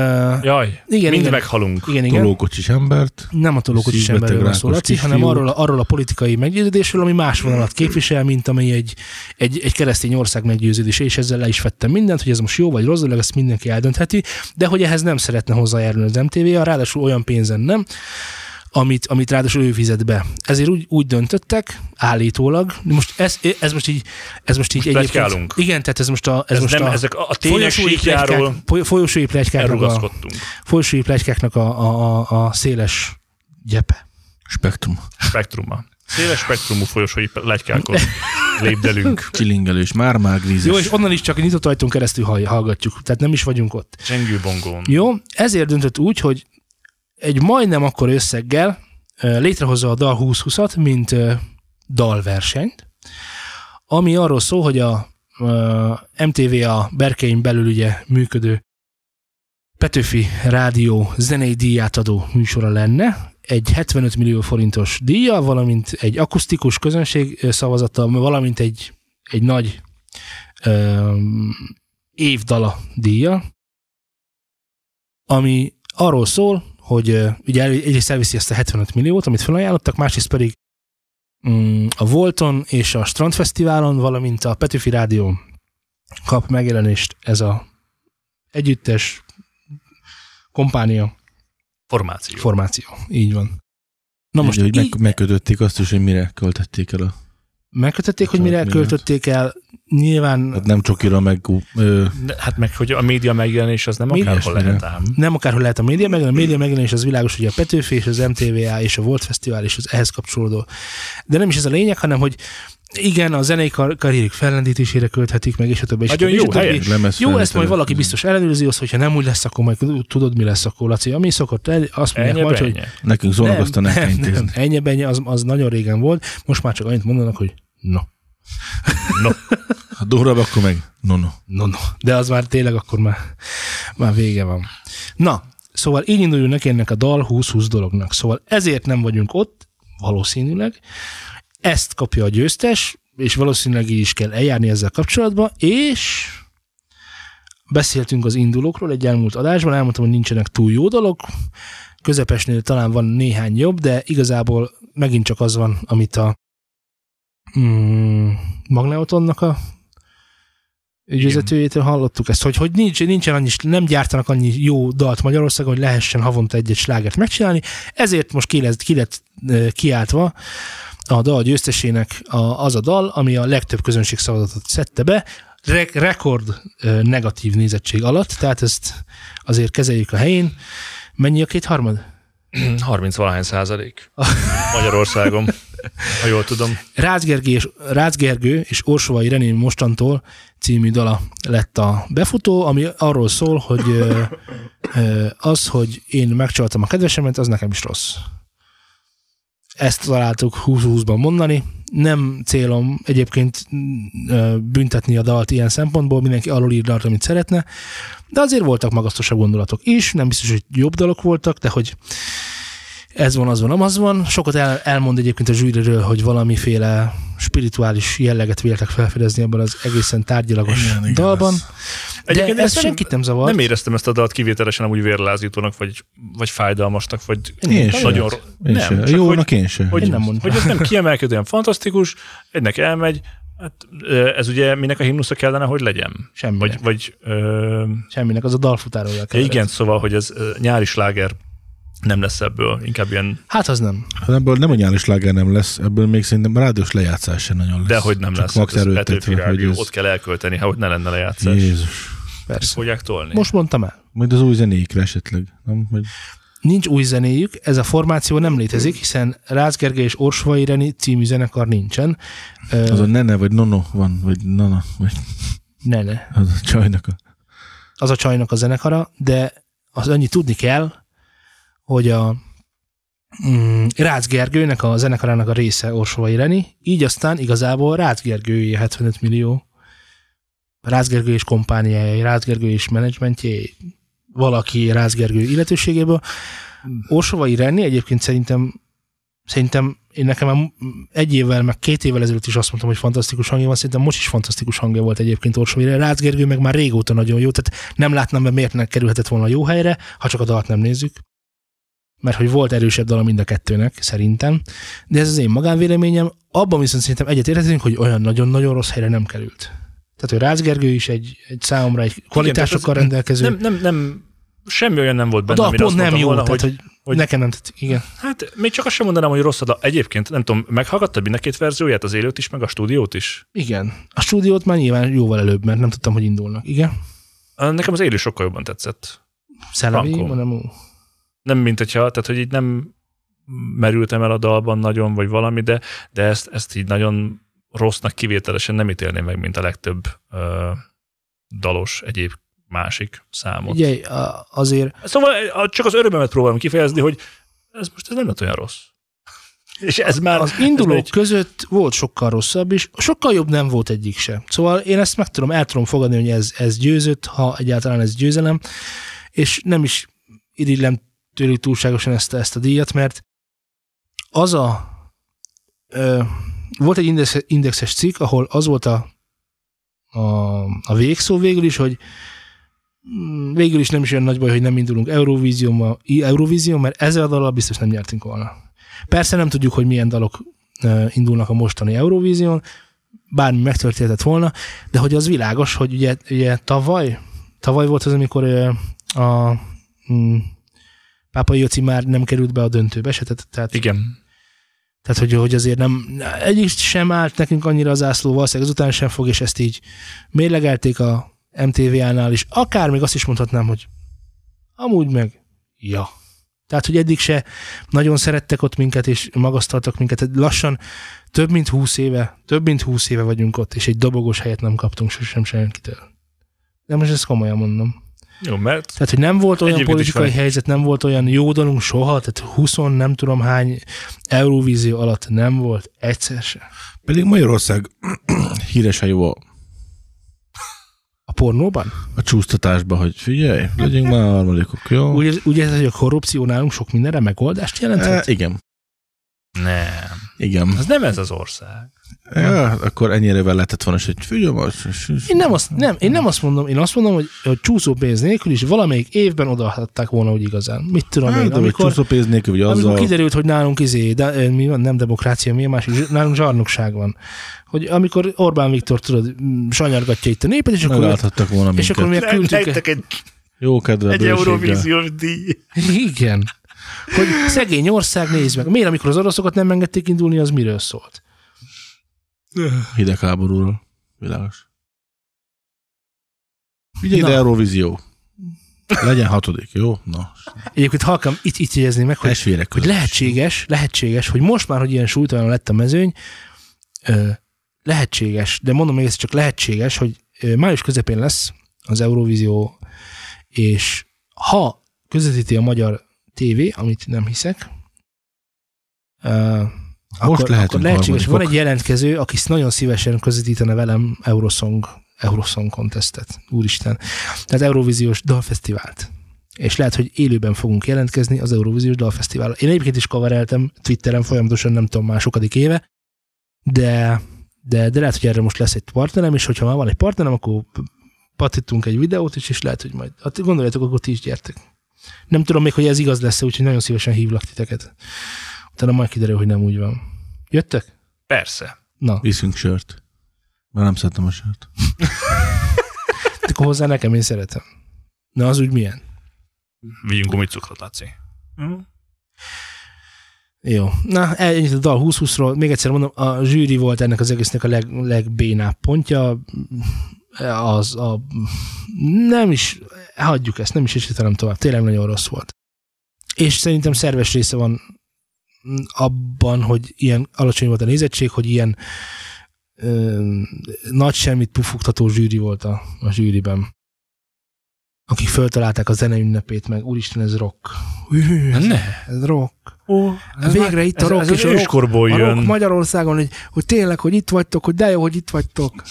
C: jaj,
A: igen,
C: mind
A: igen,
C: meghalunk.
A: igen, igen.
B: Tolókocsis embert.
A: Nem a tolókocsis
B: Szívbeteg
A: emberről van szó,
B: rákos
A: Laci,
B: kisfiú.
A: hanem arról a, arról a politikai meggyőződésről, ami más vonalat képvisel, mint amely egy, egy, egy keresztény ország meggyőződése, és ezzel le is vettem mindent, hogy ez most jó vagy rossz, dolog, ezt mindenki eldöntheti, de hogy ehhez nem szeretne hozzájárulni az MTV, -a, ráadásul olyan pénzen nem, amit, amit ráadásul ő fizet be. Ezért úgy, úgy döntöttek, állítólag, most ez, ez most így, ez most így
C: Most pletykálunk.
A: Igen, tehát ez most a, ez
C: Ez
A: most
C: nem,
A: a,
C: ezek a a tények
A: folyosói plegykák,
C: síkjáról
A: foly- folyosói plegykáknak a,
C: elrugaszkodtunk.
A: folyosói plegykáknak a, a, a, a széles gyepe.
B: Spektrum.
C: Spektruma. Széles spektrumú folyosói legykákon lépdelünk.
B: Csilingelős. Már-már
A: Jó,
B: grízes.
A: és onnan is csak a nyitott ajtón keresztül hall- hallgatjuk, tehát nem is vagyunk ott.
C: Csengő bongón.
A: Jó, ezért döntött úgy, hogy egy majdnem akkor összeggel ö, létrehozza a Dal 2020-at, mint ö, dalversenyt, ami arról szól, hogy a ö, MTV a berkein belül ugye működő Petőfi Rádió zenei díját adó műsora lenne, egy 75 millió forintos díja, valamint egy akusztikus közönség ö, szavazattal, valamint egy, egy nagy ö, évdala díja, ami arról szól, hogy ö, ugye elő- egyrészt elviszi ezt a 75 milliót, amit felajánlottak, másrészt pedig mm, a Volton és a Strand Fesztiválon, valamint a Petőfi Rádió kap megjelenést ez a együttes kompánia,
C: Formáció.
A: formáció. Így van. Na
B: Na
A: most
B: most hogy
A: így,
B: meg, megkötötték azt is, hogy mire költették el a...
A: megkötötték, hogy mire
B: 75 milliót.
A: költötték el, nyilván
B: Hát nem csokira meg... Ö,
C: Ne- Hát meg, hogy a média megjelenés az nem
A: Mi?
C: akárhol
B: Ilyesmire.
C: lehet ám.
A: nem akárhol lehet a média megjelenés, a média megjelenés az világos, hogy a Petőfi és az MTVA és a Volt Fesztivál és az ehhez kapcsolódó. De nem is ez a lényeg, hanem hogy igen, a zenei kar- karrierük fellendítésére költhetik meg, és a többi. és a
C: Nagyon
A: többi, és a
C: jó,
A: többi.
C: helyes.
B: lemez
A: Jó, ezt majd
B: felvétel.
A: valaki biztos ellenőrzi, az, hogyha nem úgy lesz, akkor majd tudod, mi lesz akkor, Laci. Ami szokott, el- azt mondják
C: Ennyi,
A: majd, hogy
C: ennyi.
B: Nekünk szólnak, aztán el kell
A: nem,
B: intézni.
A: ennyi, ennyi, az, az nagyon régen volt. Most már csak annyit mondanak, hogy no,
B: Ha durrabb, akkor meg... No, no.
A: no, no. De az már tényleg akkor már, már vége van. Na, szóval így induljunk neki ennek a dal 20-20 dolognak. Szóval ezért nem vagyunk ott, valószínűleg. Ezt kapja a győztes, és valószínűleg így is kell eljárni ezzel kapcsolatban, és beszéltünk az indulókról egy elmúlt adásban, elmondtam, hogy nincsenek túl jó dalok, közepesnél talán van néhány jobb, de igazából megint csak az van, amit a mm, Magneutonnak a ügyvezetőjétől hallottuk ezt, hogy, hogy nincs, nincsen annyi, nem gyártanak annyi jó dalt Magyarországon, hogy lehessen havonta egy-egy slágert megcsinálni, ezért most ki lett, ki lett ö, kiáltva a dal győztesének a, az a dal, ami a legtöbb közönség szavazatot szedte be, re- rekord ö, negatív nézettség alatt, tehát ezt azért kezeljük a helyén. Mennyi a kétharmad?
C: 30 valahány százalék Magyarországon, ha jól tudom.
A: Rácz, Gergő és, Rácz Gergő és Orsovai René mostantól című dala lett a befutó, ami arról szól, hogy ö, ö, az, hogy én megcsaltam a kedvesemet, az nekem is rossz. Ezt találtuk 20-20-ban mondani. Nem célom egyébként ö, büntetni a dalt ilyen szempontból, mindenki arról ír dalt, amit szeretne, de azért voltak magasztosabb gondolatok is, nem biztos, hogy jobb dalok voltak, de hogy ez van, az van, amaz van. Sokat el, elmond egyébként a zsűriről, hogy valamiféle spirituális jelleget véltek felfedezni ebben az egészen tárgyilagos
B: Igen, igen,
A: dalban.
B: ez-
A: De
C: Egyébként
A: ez
C: ezt
A: senkit nem zavar.
C: Nem éreztem ezt a dalt kivételesen úgy vérlázítónak, vagy, vagy fájdalmasnak, vagy
A: Én
B: se.
C: nagyon... ro-
B: Én
C: nem,
B: se.
C: csak
B: Jónak én se.
C: hogy,
A: Én nem mondtam.
C: hogy ez nem kiemelkedően fantasztikus, egynek elmegy, hát ö, ez ugye minek a himnusza kellene, hogy legyen?
A: Semmi. Vagy,
C: Vagy, vagy ö,
A: Semminek, az a dalfutárója
C: ja,
A: kell.
C: igen, szóval, hogy ez ö, nyári sláger nem lesz ebből, inkább ilyen,
A: Hát az nem.
B: Hát ebből nem a nyári sláger nem lesz, ebből még szerintem rádiós lejátszás sem nagyon lesz.
C: de hogy nem
B: Csak
A: hát
C: lesz. hát
B: Max
C: ez Petőfi
B: erőltetve, hogy
C: Rádió,
B: ez...
C: Ott kell elkölteni, ha ott ne lenne lejátszás.
B: Jézus.
A: Persze.
C: Fogják tolni.
A: Most mondtam el.
B: Majd az új zenéikre esetleg. Nem? Vagy...
A: Nincs új zenéjük, ez a formáció nem létezik, hiszen Rácz Gergely és Orsvai Reni című zenekar nincsen.
B: Az
A: Ö,
B: a nene, vagy nono van, vagy nana, vagy
A: ne, ne.
B: az a csajnak a...
A: Az a csajnak a zenekara, de az annyi tudni kell, hogy a mm, Rácz Gergőnek a zenekarának a része Orsovai Reni, így aztán igazából Rácz Gergőjé 75 millió. Rácz Gergő és kompániája, Rácz Gergő és menedzsmentje, valaki Rácz Gergő illetőségéből.
C: Hmm.
A: Orsovai Reni egyébként szerintem szerintem én nekem már egy évvel, meg két évvel ezelőtt is azt mondtam, hogy fantasztikus hangja van, szerintem most is fantasztikus hangja volt egyébként Orsovai Reni. Rácz Gergő meg már régóta nagyon jó, tehát nem látnám be, miért ne kerülhetett volna a jó helyre, ha csak a dalt nem nézzük mert hogy volt erősebb dala mind a kettőnek, szerintem, de ez az én magánvéleményem, abban viszont szerintem egyetérthetünk, hogy olyan nagyon-nagyon rossz helyre nem került. Tehát, hogy Rácz Gergő is egy, egy számomra egy kvalitásokkal
C: tehát ez-
A: rendelkező.
C: Nem, nem, nem, semmi olyan nem volt
A: a
C: benne,
A: dal
C: amire
A: pont
C: azt
A: nem
C: mondtam
A: jó,
C: volna,
A: tehát,
C: hogy
A: hogy, hogy,
C: hogy-
A: nekem nem tetszik. Igen.
C: hát még csak azt sem mondanám, hogy rossz a dal. Egyébként, nem tudom, meghallgattad mind a két verzióját, az élőt is, meg a stúdiót is?
A: Igen. A stúdiót már nyilván jóval előbb, mert nem tudtam, hogy indulnak. Igen.
C: Nekem az élő sokkal jobban tetszett.
A: Szellemi,
C: Frankó.
A: hanem ú.
C: nem mint hogyha, tehát hogy így nem merültem el a dalban nagyon, vagy valami, de, de ezt, ezt így nagyon rossznak kivételesen nem ítélném meg, mint a legtöbb ö, dalos egyéb másik számot. Igen.
A: Ugye, a- azért
C: Szóval a- csak az örömömet próbálom kifejezni, hogy ez most ez nem lett olyan rossz. És ez már...
A: az indulók
C: ez
A: egy...
C: egy-
A: között volt sokkal rosszabb is, sokkal jobb nem volt egyik se. Szóval én ezt meg tudom, el tudom fogadni, hogy ez, ez győzött, ha egyáltalán ez győzelem, és nem is irigylem tőlük túlságosan ezt, ezt a díjat, mert az a... Ö, volt egy index, indexes cikk, ahol az volt a, a, a végszó végül is, hogy mm, végül is nem is olyan nagy baj, hogy nem indulunk Eurovíziummal, Eurovízium, mert ezzel a dallal biztos nem nyertünk volna. Persze nem tudjuk, hogy milyen dalok ö, indulnak a mostani Eurovízión, bármi megtörténhetett volna, de hogy az világos, hogy ugye, ugye tavaly, tavaly volt az, amikor ö, a mm, Pápa Jóci már nem került be a döntőbe, se, tehát, tehát
C: Igen.
A: tehát, hogy, hogy azért nem, egyik sem állt nekünk annyira az ászló, valószínűleg ezután sem fog, és ezt így mérlegelték a MTV-nál is. Akár még azt is mondhatnám, hogy amúgy meg, ja. Tehát, hogy eddig se nagyon szerettek ott minket, és magasztaltak minket. Tehát Lassan több mint húsz éve, több mint húsz éve vagyunk ott, és egy dobogós helyet nem kaptunk sosem senkitől. De most ezt komolyan mondom.
C: Jó, mert
A: Tehát, hogy nem volt olyan
C: Egyébként is
A: politikai
C: van.
A: helyzet, nem volt olyan jó dalunk soha, tehát 20 nem tudom hány Eurovízió alatt nem volt egyszer se.
B: Pedig Magyarország híresen jó a,
A: A pornóban?
B: a csúsztatásba, hogy figyelj, legyünk már a harmadikok, jó?
A: hát Úgy, úgy érzed, hogy a korrupció nálunk sok mindenre megoldást jelenthet?
B: E, igen.
C: nem.
B: Igen.
C: Az nem ez az ország.
B: Ja, akkor ennyire vele lehetett volna, és hogy figyelj, most- és- és-
A: Én nem, azt, nem, én nem azt mondom, én azt mondom, hogy, hogy csúszó pénz nélkül is valamelyik évben odaadták volna úgy igazán. Mit tudom
B: Hát,
A: én,
B: de vagy
A: amikor,
B: csúszó pénz nélkül, vagy
A: amikor
B: azzal,
A: kiderült, hogy nálunk izé, de, ö, mi van, nem demokrácia, mi a másik, zs- nálunk zsarnokság van. Hogy amikor Orbán Viktor, tudod, m, sanyargatja itt a népet, és akkor,
B: megállhattak volna
A: és akkor
B: minket.
A: mi küldtük.
C: egy,
B: Jó kedve, bőséggel.
C: díj.
A: Igen. Hogy szegény ország, nézd meg. Miért, amikor az oroszokat nem engedték indulni, az miről szólt?
B: Hidegháborúról. Világos. Ugye ide
A: Na.
B: Eurovízió. Legyen hatodik, jó? Na,
A: Egyébként halkam itt, itt jegyezni meg, hogy
B: testvérek
A: hogy
B: között.
A: lehetséges, lehetséges, hogy most már, hogy ilyen súlytalan lett a mezőny, ö, lehetséges, de mondom még, ez csak lehetséges, hogy ö, május közepén lesz az Eurovízió, és ha közvetíti a magyar tévé, amit nem hiszek, ö, akkor,
B: lehetünk
A: akkor lehetséges, van
B: harmadikok.
A: egy jelentkező, aki sz- nagyon szívesen közvetítene velem Eurosong, Eurosong kontesztet, úristen. Tehát Eurovíziós dalfesztivált. És lehet, hogy élőben fogunk jelentkezni az Eurovíziós dalfesztiválra. Én egyébként is kavareltem Twitteren folyamatosan, nem tudom, másokadik éve, de, de, de lehet, hogy erre most lesz egy partnerem, és hogyha már van egy partnerem, akkor patítunk egy videót is, és lehet, hogy majd, hát gondoljátok, akkor ti is gyertek. Nem tudom még, hogy ez igaz lesz, úgyhogy nagyon szívesen hívlak titeket. Utána majd kiderül, hogy nem úgy van. Jöttek?
C: Persze.
A: Na,
B: Viszünk sört. Már nem szeretem a sört.
A: akkor hozzá nekem én szeretem. Na, az úgy milyen?
C: Vigyünk gumicukrot, Laci. Hm?
A: Jó. Na, ennyit a dal 20-20-ról. Még egyszer mondom, a zsűri volt ennek az egésznek a leg, legbénább pontja. Az a... Nem is... Hagyjuk ezt, nem is esélytelen tovább. Tényleg nagyon rossz volt. És szerintem szerves része van abban, hogy ilyen alacsony volt a nézettség, hogy ilyen ö, nagy semmit pufogtató zsűri volt a, a zsűriben. Akik föltalálták a zene ünnepét, meg úristen, ez rock. Hű, ez,
C: Ne.
A: ez rock.
C: Ó,
A: ez Hát Végre már- itt a rock
C: ez,
A: és
C: ez
A: a
C: az
A: rock-
C: őskorból
A: A rock
C: jön.
A: Magyarországon, hogy, hogy tényleg, hogy itt vagytok, hogy de jó, hogy itt vagytok.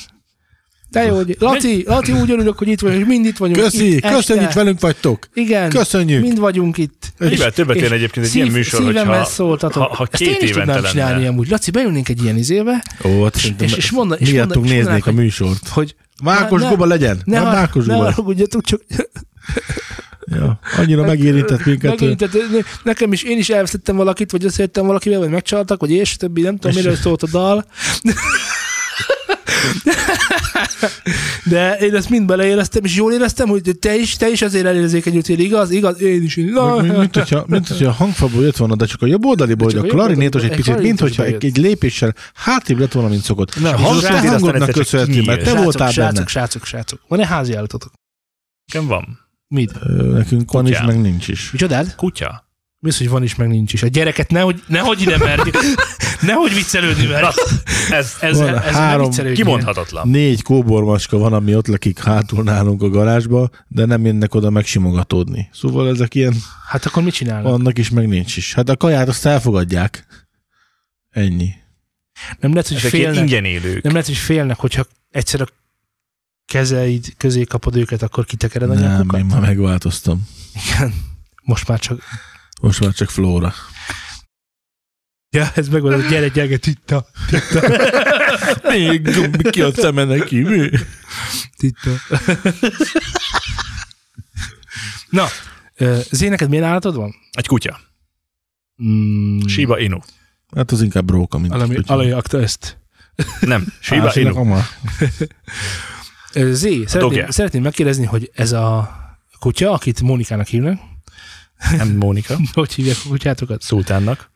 A: De jó, hogy Laci, Laci úgy örülök, hogy itt vagyunk, hogy mind itt vagyunk.
B: Köszi,
A: itt,
B: köszönjük,
A: este.
B: itt velünk vagytok.
A: Igen,
B: Köszönjük.
A: mind vagyunk itt.
C: Mivel többet
A: és
C: érne egyébként egy ilyen műsor,
A: szívemmel
C: hogyha
A: szóltatok.
C: ha- ha
A: Ezt
C: két
A: én is
C: évente
A: tudnám
C: lenne.
A: csinálni amúgy. Laci, bejönnénk egy ilyen izébe,
B: Ó, hát
A: és,
B: szerintem
A: és, és mondan, és
B: miattunk
A: mondan, és mondanák,
B: néznék a
A: hogy,
B: műsort.
A: hogy
B: Mákos
A: ne-
B: Guba legyen.
A: ne,
B: Ne,
A: har-
B: Mákos
A: ne
B: Guba.
A: haragudjatok, csak
B: Ja. Annyira megérintett minket. hogy-
A: megint, tehát, ne- nekem is, én is elvesztettem valakit, vagy összejöttem valakivel, vagy megcsaltak, vagy és többi, nem tudom,
B: És-
A: miről szólt a dal. De én ezt mind beleéreztem, és jól éreztem, hogy te is, te is azért elérzékeny ültél, igaz? Igaz? Én is. Na, hát,
B: Mint, mint, mint, hogyha, mint hogyha a hangfalból jött volna, de csak a jobb oldaliból,
A: De
B: hogy
A: csak a
B: a
A: jobb
B: klarinétos egy
A: oldaliból,
B: picit,
A: egy
B: mint hogyha
A: klarinétos
B: egy, egy lépéssel hátrébb lett volna, mint szokott.
C: Na,
B: Na, és
C: ha
B: az a te
C: srácok, aztán
B: hangodnak
C: egyszer csak
B: köszönhető, mert te
C: kinyílt.
B: voltál
A: srácok,
B: benne.
A: srácok, srácok. Van-e házi állatotok?
C: Nekem van.
A: Mit?
B: Ö, Nekünk van is,
C: Kutyám.
B: meg nincs is.
A: Micsodád?
C: Kutya.
A: Mi az, hogy van is, meg nincs is. A gyereket nehogy, nehogy ide merj. Nehogy viccelődni, mert
C: Ez,
A: ez,
C: ez
A: ez,
B: Van
A: ez
B: három-
A: nem viccelődni.
C: kimondhatatlan.
B: Négy kóbormaska van, ami ott lakik hátul nálunk a garázsba, de nem jönnek oda megsimogatódni. Szóval ezek ilyen,
A: Hát akkor mit csinálnak?
B: annak is, meg nincs is. Hát a kaját azt elfogadják. Ennyi.
A: Nem lehet, hogy
C: Ezek ilyen
A: félnek.
C: ingyen élők.
A: Nem lehet, hogy félnek, hogyha egyszer a kezeid közé kapod őket, akkor kitekered a
B: Nem,
A: nyakukat?
B: én már megváltoztam.
A: Most már csak...
B: Most már csak Flóra.
A: Ja, ez meg van, gyere, gyere, titta,
B: Még gomb ki a szeme neki. Mi?
A: titta. Na, ö, Zé, neked milyen állatod van?
C: Egy kutya.
A: Hmm. Mm,
C: Shiba Inu.
B: Hát az inkább róka, mint
A: Valami
B: kutya.
A: alajakta ezt.
C: Nem, Shiba
B: Másiknak
C: Inu.
B: ama.
A: Ö, Zé, szeretném,
C: dogge.
A: szeretném megkérdezni, hogy ez a kutya, akit Mónikának hívnak,
C: Nem Mónika.
A: hogy hívják a kutyátokat?
C: Szultánnak.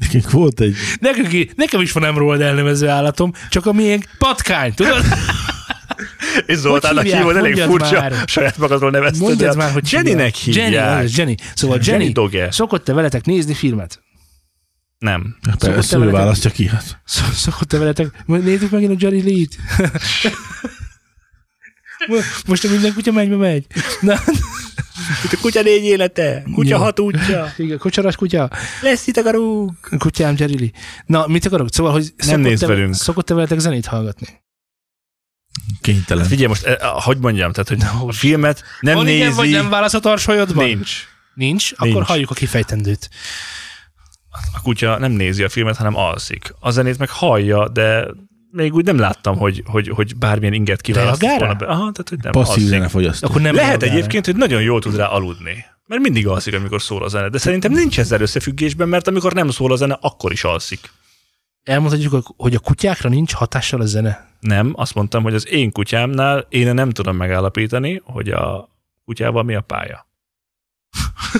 B: Nekünk volt egy,
A: Nekem, ki- nekem is van emrólad elnevező állatom, csak a miénk patkány, tudod?
C: És Zoltánnak
A: hívják?
C: hívod, elég
A: Mondjad
C: furcsa.
A: már.
C: Saját magadról nevezted.
A: Mondjad
C: de
A: már, hogy
C: Jenny-nek
A: hívják.
C: hívják.
A: Jenny, az, Jenny. Szóval Jenny,
C: Jenny Dogge.
A: szokott-e veletek nézni filmet?
C: Nem.
B: persze, ő
A: veletek-
B: választja ki. Hát.
A: Sz- Szokott-e veletek? Majd Nézzük megint a Jerry Lee-t. Mo- Most a minden kutya megy, megy. Na,
C: Itt a kutya négy élete.
A: Jó.
C: útja.
A: igen, kocsaras kutya.
C: Lesz itt a garú.
A: Kutyám Jerry Lee. Na, mit akarok? Szóval, hogy szokott-e,
C: néz velünk.
A: szokott-e veletek zenét hallgatni?
B: Kénytelen.
C: Figyelj most, eh, hogy mondjam, tehát hogy a filmet nem
A: Van
C: nézi.
A: igen, vagy nem válasz a tarsolyodban?
C: Nincs.
A: Nincs? Akkor
C: Nincs.
A: halljuk a kifejtendőt.
C: A kutya nem nézi a filmet, hanem alszik. A zenét meg hallja, de még úgy nem láttam, hogy, hogy, hogy bármilyen inget kiválasztott
A: Reagál rá?
C: volna be. Aha, tehát, hogy nem
B: Passzív
C: alszik.
B: zenefogyasztó.
A: Akkor nem
C: Lehet
A: reagál rá.
C: egyébként, hogy nagyon jól tud rá aludni. Mert mindig alszik, amikor szól a zene. De szerintem nincs ezzel összefüggésben, mert amikor nem szól a zene, akkor is alszik.
A: Elmondhatjuk, hogy a kutyákra nincs hatással a zene.
C: Nem, azt mondtam, hogy az én kutyámnál én nem tudom megállapítani, hogy a kutyával mi a pálya.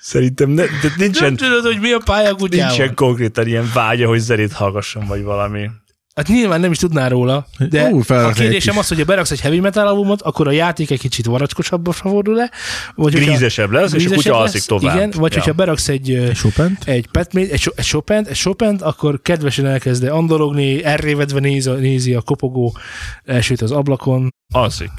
C: Szerintem ne, de
A: Nem
C: nincsen,
A: tudod, hogy mi a pálya kutyával.
C: nincsen konkrétan ilyen vágya, hogy zenét hallgasson, vagy valami.
A: Hát nyilván nem is tudná róla, de
B: Ú,
A: Ú,
B: felrakni
A: a
B: egy
A: kérdésem
B: kis-
A: az, hogy ha beraksz egy heavy metal albumot, akkor a játék egy kicsit varacskosabbra fordul-e? Vagy hogyha-
C: Grízesebb lesz, és a
A: grízesebb
C: kutya
A: lesz,
C: alszik tovább.
A: Igen, vagy
C: ja.
A: hogyha beraksz egy ö,
B: Chopin-t?
A: egy petmét, egy, so- egy sopent, egy sopent, akkor kedvesen elkezd andalogni, elrévedve néz, a- nézi a kopogó elsőt az ablakon.
C: Alszik.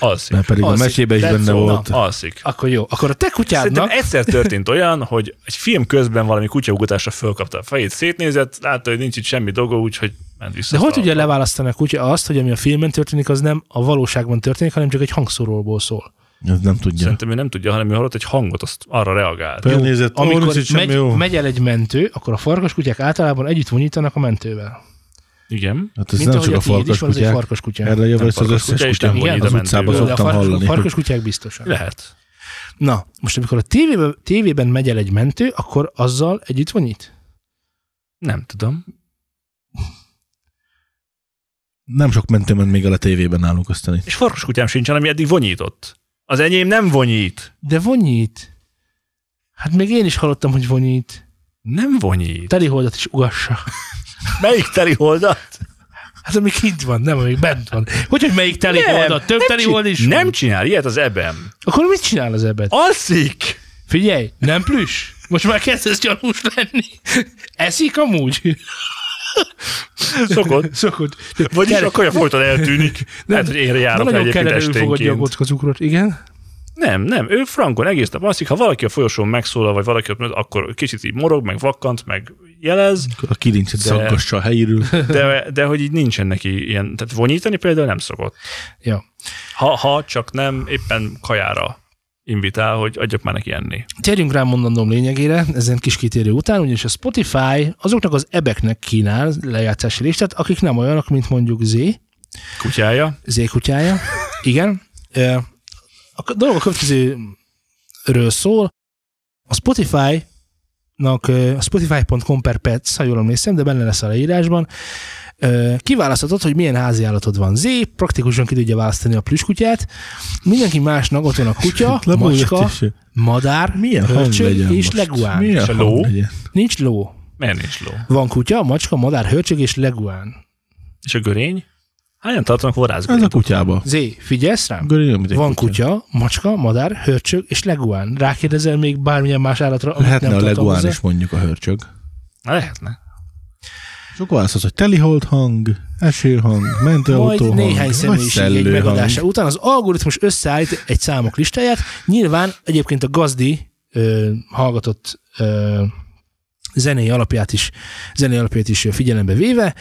C: Alszik.
B: Mert pedig a
A: Alszik.
B: mesében is
A: That's
B: benne
A: all.
B: volt.
C: Alszik.
A: Akkor jó. Akkor a te
C: Szerintem
A: kutyádnak
C: egyszer történt olyan, hogy egy film közben valami kutyaugatásra fölkapta a fejét, szétnézett, látta, hogy nincs itt semmi dolga, úgyhogy ment vissza.
A: de hogy
C: ugye
A: tudja leválasztani a kutya azt, hogy ami a filmben történik, az nem a valóságban történik, hanem csak egy hangszóróból szól.
B: Ez nem tudja.
C: Szerintem ő nem tudja, hanem ő hallott egy hangot, azt arra reagált.
B: Jó. Nézett, ó,
A: Amikor
B: nincs itt semmi jó.
A: megy, megy el egy mentő, akkor a farkaskutyák általában együtt vonyítanak a mentővel.
C: Igen.
B: Hát ez
A: Mint
B: nem
A: ahogy
B: csak a
A: a tiéd
B: farkas
A: is van, ez egy
B: kutyák.
A: farkas kutya.
B: Erre jövő
C: Nem
B: az az
C: farkas
B: összes
C: kutya, és nem
B: kutyám.
A: vonít
B: Az
A: a
B: utcában
C: mentőből.
A: Jó, de a
B: szoktam
A: farkas,
B: hallani. hogy-
A: farkas kutyák biztosan.
C: Lehet.
A: Na, most amikor a tévében, tévében megy el egy mentő, akkor azzal együtt vonyít?
C: Nem tudom.
B: Nem sok mentőment még el a tévében nálunk aztán itt.
C: És farkas kutyám sincsen, ami eddig vonyított. Az enyém nem vonyít.
A: De vonyít. Hát még én is hallottam, hogy vonyít.
C: Nem vonyít.
A: Teli holdat is ugassa.
C: Melyik teli holdat?
A: Hát ami kint van, nem ami bent van. Hogy, hogy melyik teli
C: Nem,
A: holdat? Több teli hold is van.
C: Nem csinál ilyet az ebem.
A: Akkor mit csinál az ebet?
C: Alszik!
A: Figyelj, nem plüss. Most már kezdesz gyanús lenni. Eszik amúgy?
C: Szokott.
A: Szokott.
C: Vagyis
A: Kell-
C: a kaja folyton eltűnik. Lehet, hogy én
A: De
C: járok rá
A: nagyon
C: egyébként
A: kellene ő fogadja a
C: esténként.
A: kocka cukrot, igen.
C: Nem, nem, ő frankon egész nap alszik, ha valaki a folyosón megszólal, vagy valaki ott, akkor kicsit így morog, meg vakkant, meg jelez,
B: Akkor a kilincet
C: De-
B: szakkassa a helyéről.
C: de, de hogy így nincsen neki ilyen, tehát vonyítani például nem szokott.
A: Ja.
C: Ha, ha csak nem éppen kajára invitál, hogy adjak már neki enni.
A: Térjünk rá mondandóm lényegére, ezen kis kitérő után, ugyanis a Spotify azoknak az ebeknek kínál lejátszási listát, akik nem olyanok, mint mondjuk Z,
C: Kutyája,
A: zékutyája. Igen. Ö, A dolog a következőről szól. A Spotify a spotify.com per pets, ha jól emlékszem, de benne lesz a leírásban. Ö, Kiválaszthatod, hogy milyen háziállatod van. Z, praktikusan ki tudja választani a plüskutyát. Mindenki másnak ott van a kutya, macska,
B: Lebújtatás.
A: madár,
B: Milyen hang legyen
A: hörcsög és
B: most?
A: leguán.
B: Milyen
C: És a
B: hang
C: ló?
B: legyen?
A: Nincs ló.
C: miért nincs ló?
A: Van kutya, macska, madár, hörcsög és leguán.
C: És a görény? Hányan tartanak
B: Ez a
C: varázsgörényt?
B: kutyába.
A: Z, figyelsz rám?
B: Görög, mint egy
A: Van kutya, macska, madár, hörcsög és leguán. Rákérdezel még bármilyen más állatra, amit
B: Lehetne
A: nem
B: a
A: tartom
B: leguán
A: hozzá?
B: is mondjuk a hörcsög.
C: Na, Lehetne.
B: És akkor válaszolsz, hogy telihold hang, esőhang, mentőautó
A: Majd
B: hang,
A: néhány
B: vagy
A: személyiség egy
B: szellőhang.
A: megadása után az algoritmus összeállít egy számok listáját. Nyilván egyébként a gazdi ö, hallgatott ö, zenei alapját is, zenei alapját is figyelembe véve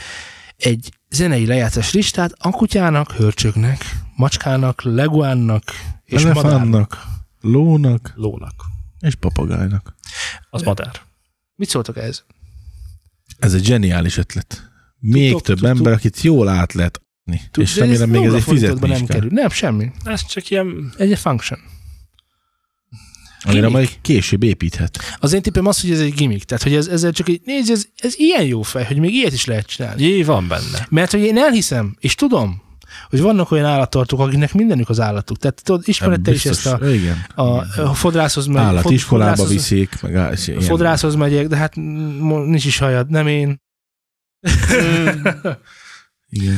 A: egy zenei lejátszás listát a kutyának, hörcsögnek, macskának, leguánnak és madárnak.
B: elefánnak, lónak
C: Lónak.
B: és papagájnak.
C: Az madár.
A: Mit szóltak ez?
B: Ez egy zseniális ötlet. Még
A: Tudtok,
B: több
A: tudtuk.
B: ember, akit jól át lehet adni. és
A: de
B: remélem még
A: nulla
B: ezért
A: forintotba
B: fizetni is
A: nem
B: kell.
A: kerül. Nem, semmi.
C: Ez csak ilyen...
A: Egy function.
B: Amire
A: Kinek?
B: majd később építhet.
A: Az én tippem az, hogy ez egy gimmick. Tehát, hogy ez, ezzel csak egy, nézd, ez, ez ilyen jó fej, hogy még ilyet is lehet csinálni.
C: Jé, van benne.
A: Mert hogy én elhiszem, és tudom, hogy vannak olyan állattartók, akiknek mindenük az állatuk. Tehát tudod, ismered te is ezt a,
B: Igen.
A: a, a fodrászhoz meg.
B: Állatiskolába
A: fodrászhoz-
B: viszik, meg á- és ilyen.
A: Fodrászhoz megyek, de hát mm, mo- nincs is hajad, nem én.
B: Igen.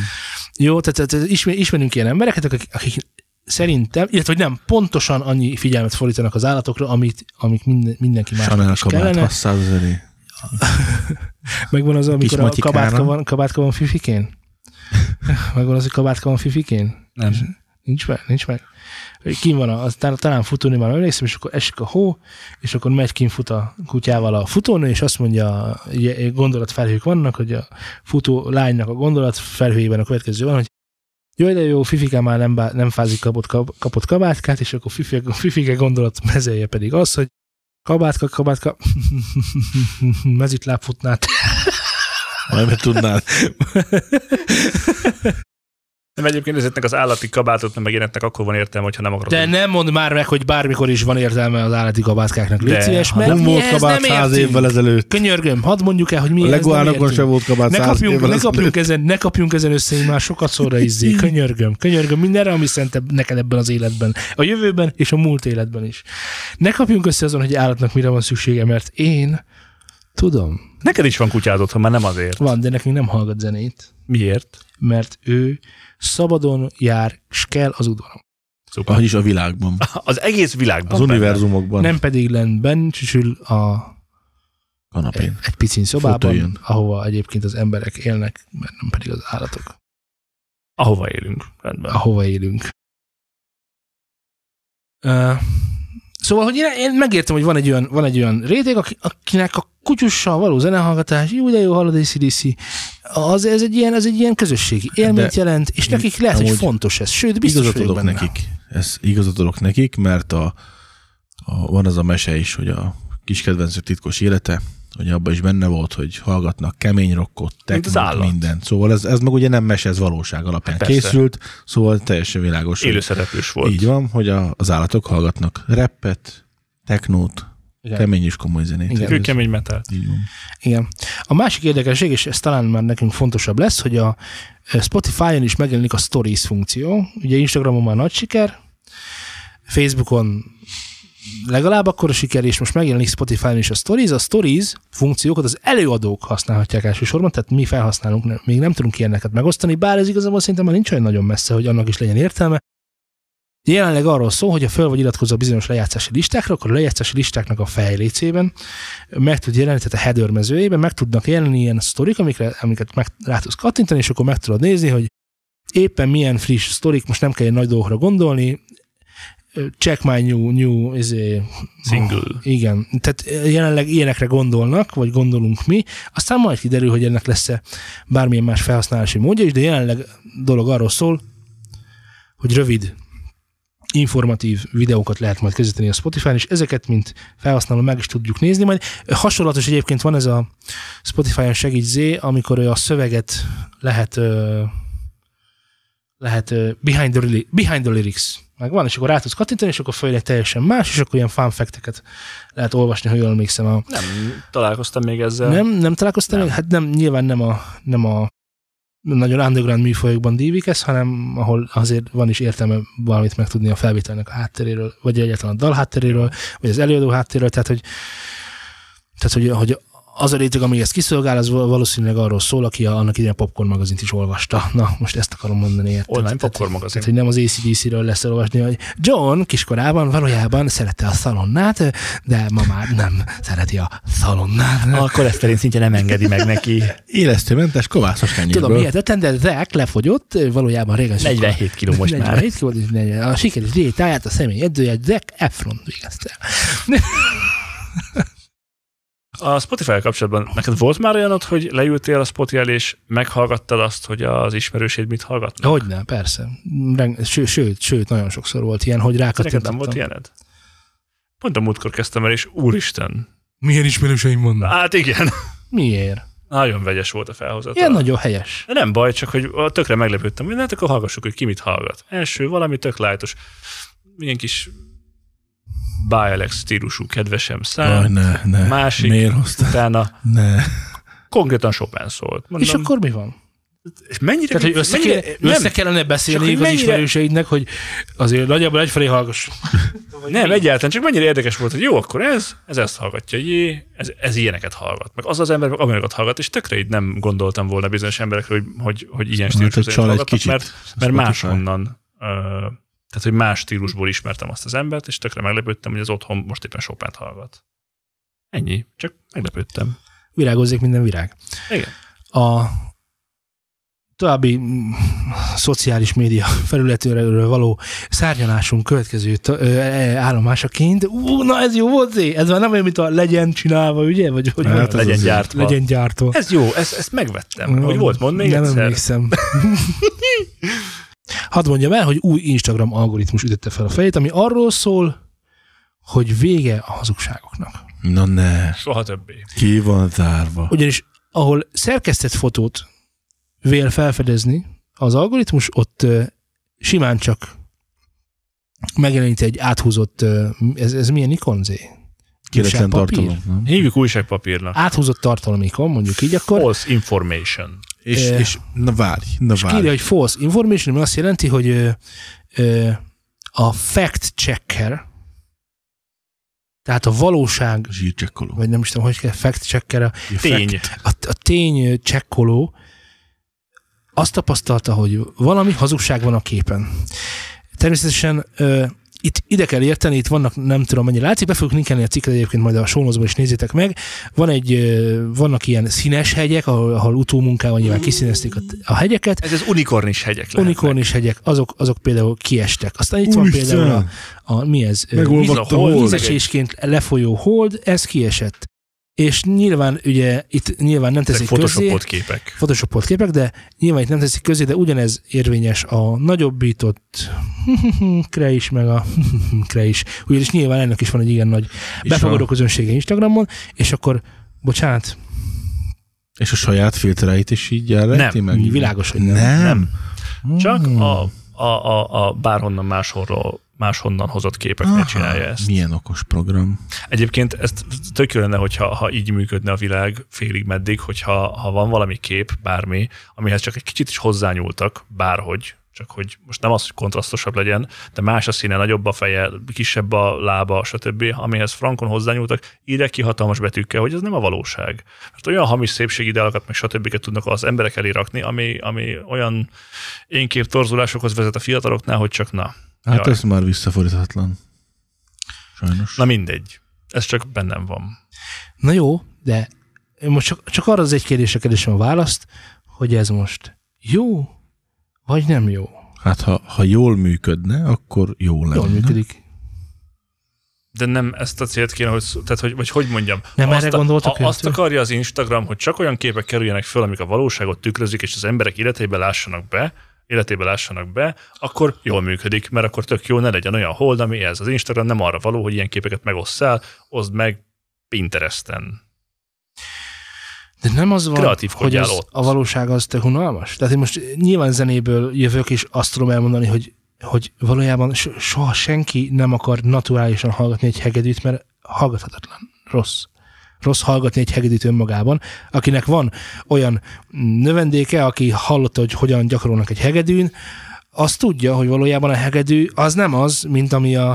A: Jó, tehát, tehát ismer, ismerünk ilyen embereket, akik, akik szerintem, illetve hogy nem, pontosan annyi figyelmet fordítanak az állatokra, amit, amik minden, mindenki
B: Chanel
A: másnak is
B: kabát,
A: kellene.
B: 600 ezeré.
A: Megvan az, amikor a
B: matyikára.
A: kabátka van, kabátka van fifikén? Megvan az, hogy kabátka van fifikén?
C: Nem.
A: Nincs meg, nincs meg. Hogy Kim van, a, az, tá- talán futónő már emlékszem, és akkor esik a hó, és akkor megy kim fut a kutyával a futónő, és azt mondja, ugye gondolatfelhők vannak, hogy a futó lánynak a gondolatfelhőjében a következő van, hogy Jaj, de jó, Fifike már nem, bá- nem fázik kapott, kab- kapott kabátkát, és akkor Fifike, Fifike gondolat mezelje pedig az, hogy kabátka, kabátka, mezitláb futnád.
B: Majd meg tudnád.
C: Nem egyébként ezeknek az állati kabátot nem megjelentek, akkor van értelme, hogyha nem akarod.
A: De nem mondd már meg, hogy bármikor is van értelme az állati kabátkáknak. Légy
C: De,
A: szíves, mert mi
B: hát Nem
A: ehhez
B: volt kabát
A: nem
B: száz
A: értünk.
B: évvel ezelőtt.
A: Könyörgöm, hadd mondjuk el, hogy mi
B: A
A: ehhez nem
B: Legoánokon
A: értünk.
B: sem volt kabát
A: ne
B: száz
A: kapjunk,
B: évvel
A: ne,
B: ezelőtt.
A: kapjunk ezen, ne kapjunk ezen össze, én már sokat szóra izzé. Könyörgöm, könyörgöm mindenre, ami szentebb neked ebben az életben. A jövőben és a múlt életben is. Ne kapjunk össze azon, hogy állatnak mire van szüksége, mert én tudom.
C: Neked is van kutyád otthon, már nem azért.
A: Van, de nekünk nem hallgat zenét,
C: Miért?
A: mert ő szabadon jár, s kell az udvaron.
C: Szuper.
B: Vagyis a világban.
C: Az egész világban.
B: Az
C: benne.
B: univerzumokban.
A: Nem pedig lent bent csücsül a egy,
B: Kanapén.
A: egy picin szobában,
B: Fotőjön.
A: ahova egyébként az emberek élnek, mert nem pedig az állatok,
C: Ahova élünk. Rendben.
A: ahova élünk. Uh, szóval, hogy én, én megértem, hogy van egy olyan, van egy olyan réteg, aki- akinek a kutyussal való zenehallgatás, jó, de jó, hallod, ACDC, az, ez egy ilyen, az egy ilyen közösségi élményt jelent, és
B: én
A: nekik lehet, hogy
B: amúgy
A: fontos ez, sőt, biztos
B: Igazat
A: vagyok
B: adok
A: benne.
B: nekik. Ez igazat adok nekik, mert a, a, van az a mese is, hogy a kis kedvencük titkos élete, hogy abban is benne volt, hogy hallgatnak kemény rockot,
C: Mint az
B: technót,
C: állat.
B: mindent. Szóval ez, ez meg ugye nem mese, ez valóság alapján
C: Hát persze.
B: készült, szóval teljesen világos. hogy-
C: Élőszereplős volt.
B: Így van, hogy a, az állatok hallgatnak rappet, technót,
A: Igen.
B: kemény és komoly zenét.
A: Igen.
B: Ez-
C: Kőkemény metal.
B: Így van.
A: Igen. A másik érdekesség, és ez talán már nekünk fontosabb lesz, hogy a Spotify-on is megjelenik a Stories funkció. Ugye Instagramon már nagy siker, Facebookon legalább akkor a siker, és most megjelenik Spotify-on is a Stories. A Stories funkciókat az előadók használhatják elsősorban, tehát mi felhasználunk, nem, még nem tudunk ilyeneket megosztani, bár ez igazából szerintem már nincs olyan nagyon messze, hogy annak is legyen értelme. Jelenleg arról szól, hogy ha föl vagy iratkozva bizonyos lejátszási listákra, akkor a lejátszási listáknak a fejlécében meg tud jelenni, tehát a header mezőjében meg tudnak jelenni ilyen sztorik, amikre, amiket meg, rá tudsz kattintani, és akkor meg tudod nézni, hogy éppen milyen friss sztorik, most nem kell ilyen nagy dolgokra gondolni, Ö, check my new, new izé,
C: Single.
A: igen, tehát eh, jelenleg ilyenekre gondolnak, vagy gondolunk mi, aztán majd kiderül, hogy ennek lesz-e bármilyen más felhasználási módja is, de jelenleg dolog arról szól, hogy rövid, informatív videókat lehet majd közvetíteni a Spotify-n, és ezeket, mint felhasználó meg is tudjuk nézni. Majd hasonlatos egyébként van ez a Spotify-on segít Z, amikor a szöveget lehet ö, lehet ö, behind the, lyri- behind the lyrics megvan, és akkor rá tudsz kattintani, és akkor följön egy teljesen más, és akkor ilyen fun fact-eket lehet olvasni, ha jól emlékszem. A...
C: Nem találkoztam még ezzel.
A: Nem, nem találkoztál?
C: Nem.
A: még? Hát nem, nyilván nem a, nem a nagyon underground műfajokban dívik ez, hanem ahol azért van is értelme valamit megtudni a felvételnek a hátteréről, vagy egyáltalán a dal hátteréről, vagy az előadó hátteréről, tehát hogy, tehát, hogy, hogy az a réteg, ami ezt kiszolgál, az val- valószínűleg arról szól, aki a, annak idején a Popcorn magazint is olvasta. Na, most ezt akarom mondani. Érted?
C: Online
A: Tehát-
C: popcorn magazin.
A: tehát, hogy nem az ACDC-ről lesz olvasni, hogy John kiskorában valójában szerette a szalonnát, de ma már nem szereti a szalonnát.
C: A koleszterin szintje nem engedi meg neki.
B: Élesztőmentes kovászos kenyérből.
A: Tudom, hihetetlen, de Zack lefogyott, valójában régen is-
C: 47 kiló most már.
A: 47 kiló, és 40. A sikeres diétáját a személy edzője Zack Efron végezte.
C: A Spotify kapcsolatban neked volt már olyanod, hogy leültél a Spotify és meghallgattad azt, hogy az ismerőség mit hallgat?
A: Hogyne, persze. Reng- ső- Sőt, sőt, nagyon sokszor volt ilyen, hogy
C: Neked nem
A: rákattintottam.
C: volt ilyened? Pont a múltkor kezdtem el, és úristen.
A: Milyen ismerőseim vannak?
C: Hát igen,
A: Miért?
C: nagyon vegyes volt a felhozat.
A: Ilyen nagyon helyes.
C: De nem baj, csak hogy a- tökre meglepődtem, hogy hát akkor hallgassuk, hogy ki mit hallgat. Első valami tök lájtos, ilyen kis Bialex stílusú kedvesem
B: Jaj,
C: szám,
B: ne, ne.
C: Másik.
B: Miért hoztál?
C: utána
B: Ne.
C: konkrétan Chopin szólt. Mondom,
A: És akkor mi van?
C: és mennyire,
A: Tehát, hogy össze,
C: mennyire,
A: kéne,
C: nem,
A: össze kellene
C: Csak,
A: beszélni
C: hogy
A: az
C: mennyire-
A: ismerőseidnek, hogy azért nagyjából egyfelé hallgass.
C: nem, egyáltalán, csak mennyire érdekes volt, hogy jó, akkor ez, ez ezt hallgatja, jé, ez, ez ilyeneket hallgat, meg az az ember, meg amilyeneket hallgat, és tökre így nem gondoltam volna bizonyos emberekre, hogy, hogy, hogy ilyen
B: Hát,
C: stílusú
B: hogy
C: zenét
B: csal egy
C: hallgatnak,
B: kicsit.
C: mert mert
B: Spotify.
C: máshonnan, ö, tehát hogy más stílusból ismertem azt az embert, és tökre meglepődtem, hogy az otthon most éppen Chopin hallgat. Ennyi, csak meglepődtem.
A: Virágozzék minden virág.
C: Igen.
A: a további mm, szociális média felületéről való szárnyalásunk következő t- ö, ö, állomásaként. Ú, na ez jó volt, Zé? ez már nem olyan, mint a legyen csinálva, ugye? Vagy hogy
B: Hát
A: van?
B: ez
C: legyen
B: azért.
C: gyártva.
A: legyen gyártó.
C: Ez jó, ez, ezt megvettem. Hogy volt, mondd még
A: nem
C: egyszer.
A: emlékszem. Hadd mondjam el, hogy új Instagram algoritmus ütötte fel a fejét, ami arról szól, hogy vége a hazugságoknak.
B: Na ne,
C: Soha többé.
B: ki van zárva.
A: Ugyanis ahol szerkesztett fotót vél felfedezni az algoritmus, ott ö, simán csak megjelenít egy áthúzott, ö, ez, ez milyen ikon zé?
B: Kiretlen
A: újságpapír?
B: tartalom. nem?
C: Hívjuk újságpapírnak.
A: Áthúzott tartalom ikon, mondjuk így akkor.
C: False information.
B: És,
A: Eh,
B: és na várj, na
A: És kírja,
B: várj.
A: hogy false information, ami azt jelenti, hogy ö, ö, a fact checker, tehát a valóság,
B: Zsírcsekkoló.
A: vagy nem is tudom, hogy kell, fact checker, a,
C: Tény.
A: a, a tény csekkoló azt tapasztalta, hogy valami hazugság van a képen. Természetesen ö, itt ide kell érteni, itt vannak nem tudom mennyi látszik, be fogjuk linkelni a cikket egyébként majd a sónozban is nézzétek meg. Van egy, ö, vannak ilyen színes hegyek, ahol, ahol utómunkával nyilván kiszínezték a, a hegyeket,
C: Ez az unikornis hegyek lehetnek.
A: Unikornis hegyek, azok, azok például kiestek. Aztán itt van
B: Úristen!
A: például a, a mi ez? Ö,
B: Megolvadt
C: a
A: víz-
C: hold.
A: Vízesésként lefolyó hold, ez kiesett. És nyilván ugye itt nyilván nem
C: Ezek
A: teszik közé,
C: photoshopolt képek.
A: photoshopolt képek, de nyilván itt nem teszik közé, de ugyanez érvényes a nagyobbított kre is, meg a kre is. Ugyanis nyilván ennek is van egy igen nagy
B: És
A: befogadó
B: a,
A: közönsége Instagramon, és akkor bocsánat,
B: és a saját filtereit is így elrejti
C: Nem,
B: meg?
A: világos, hogy nem.
B: Nem.
C: Csak a, a, a, a bárhonnan máshonról, máshonnan hozott képeknél csinálja ezt.
B: Milyen okos program.
C: Egyébként ezt tök jó lenne, hogyha ha így működne a világ félig meddig, hogyha ha van valami kép, bármi, amihez csak egy kicsit is hozzányúltak, bárhogy, csak hogy most nem az, hogy kontrasztosabb legyen, de más a színe, nagyobb a feje, kisebb a lába, stb., amihez frankon hozzányúltak, írják ki hatalmas betűkkel, hogy ez nem a valóság. Mert olyan hamis szépségideálokat, meg stb. tudnak az emberek elé rakni, ami, ami olyan énkép torzulásokhoz vezet a fiataloknál, hogy csak na.
B: Hát
C: Jaj.
B: ez már visszafordíthatatlan. Sajnos.
C: Na mindegy. Ez csak bennem van.
A: Na jó, de én most csak, csak arra az egy kérdésre keresem a választ, hogy ez most jó, vagy nem jó.
B: Hát ha, ha jól működne, akkor jó lenne.
A: Jól működik.
C: De nem ezt a célt kéne, hogy, szó- tehát hogy, vagy hogy mondjam.
A: Nem
C: Ha
A: erre
C: azt a-
A: gondoltak
C: ha Azt
A: ők?
C: akarja az Instagram, hogy csak olyan képek kerüljenek föl, amik a valóságot tükrözik, és az emberek életébe lássanak be, életébe lássanak be, akkor jól működik, mert akkor tök jó, ne legyen olyan hold, ami ez. Az Instagram nem arra való, hogy ilyen képeket megosszál, oszd meg Pinteresten.
A: De nem az van, hogy
C: Kreatívkodjál
A: az,
C: ott.
A: a valóság az te unalmas? Tehát én most nyilván zenéből jövök, és azt tudom elmondani, hogy, hogy valójában so- soha senki nem akar naturálisan hallgatni egy hegedűt, mert hallgathatatlan. Rossz. Rossz hallgatni egy hegedűt önmagában, akinek van olyan növendéke, aki hallotta, hogy hogyan gyakorolnak egy hegedűn, az tudja, hogy valójában a hegedű az nem az, mint ami a,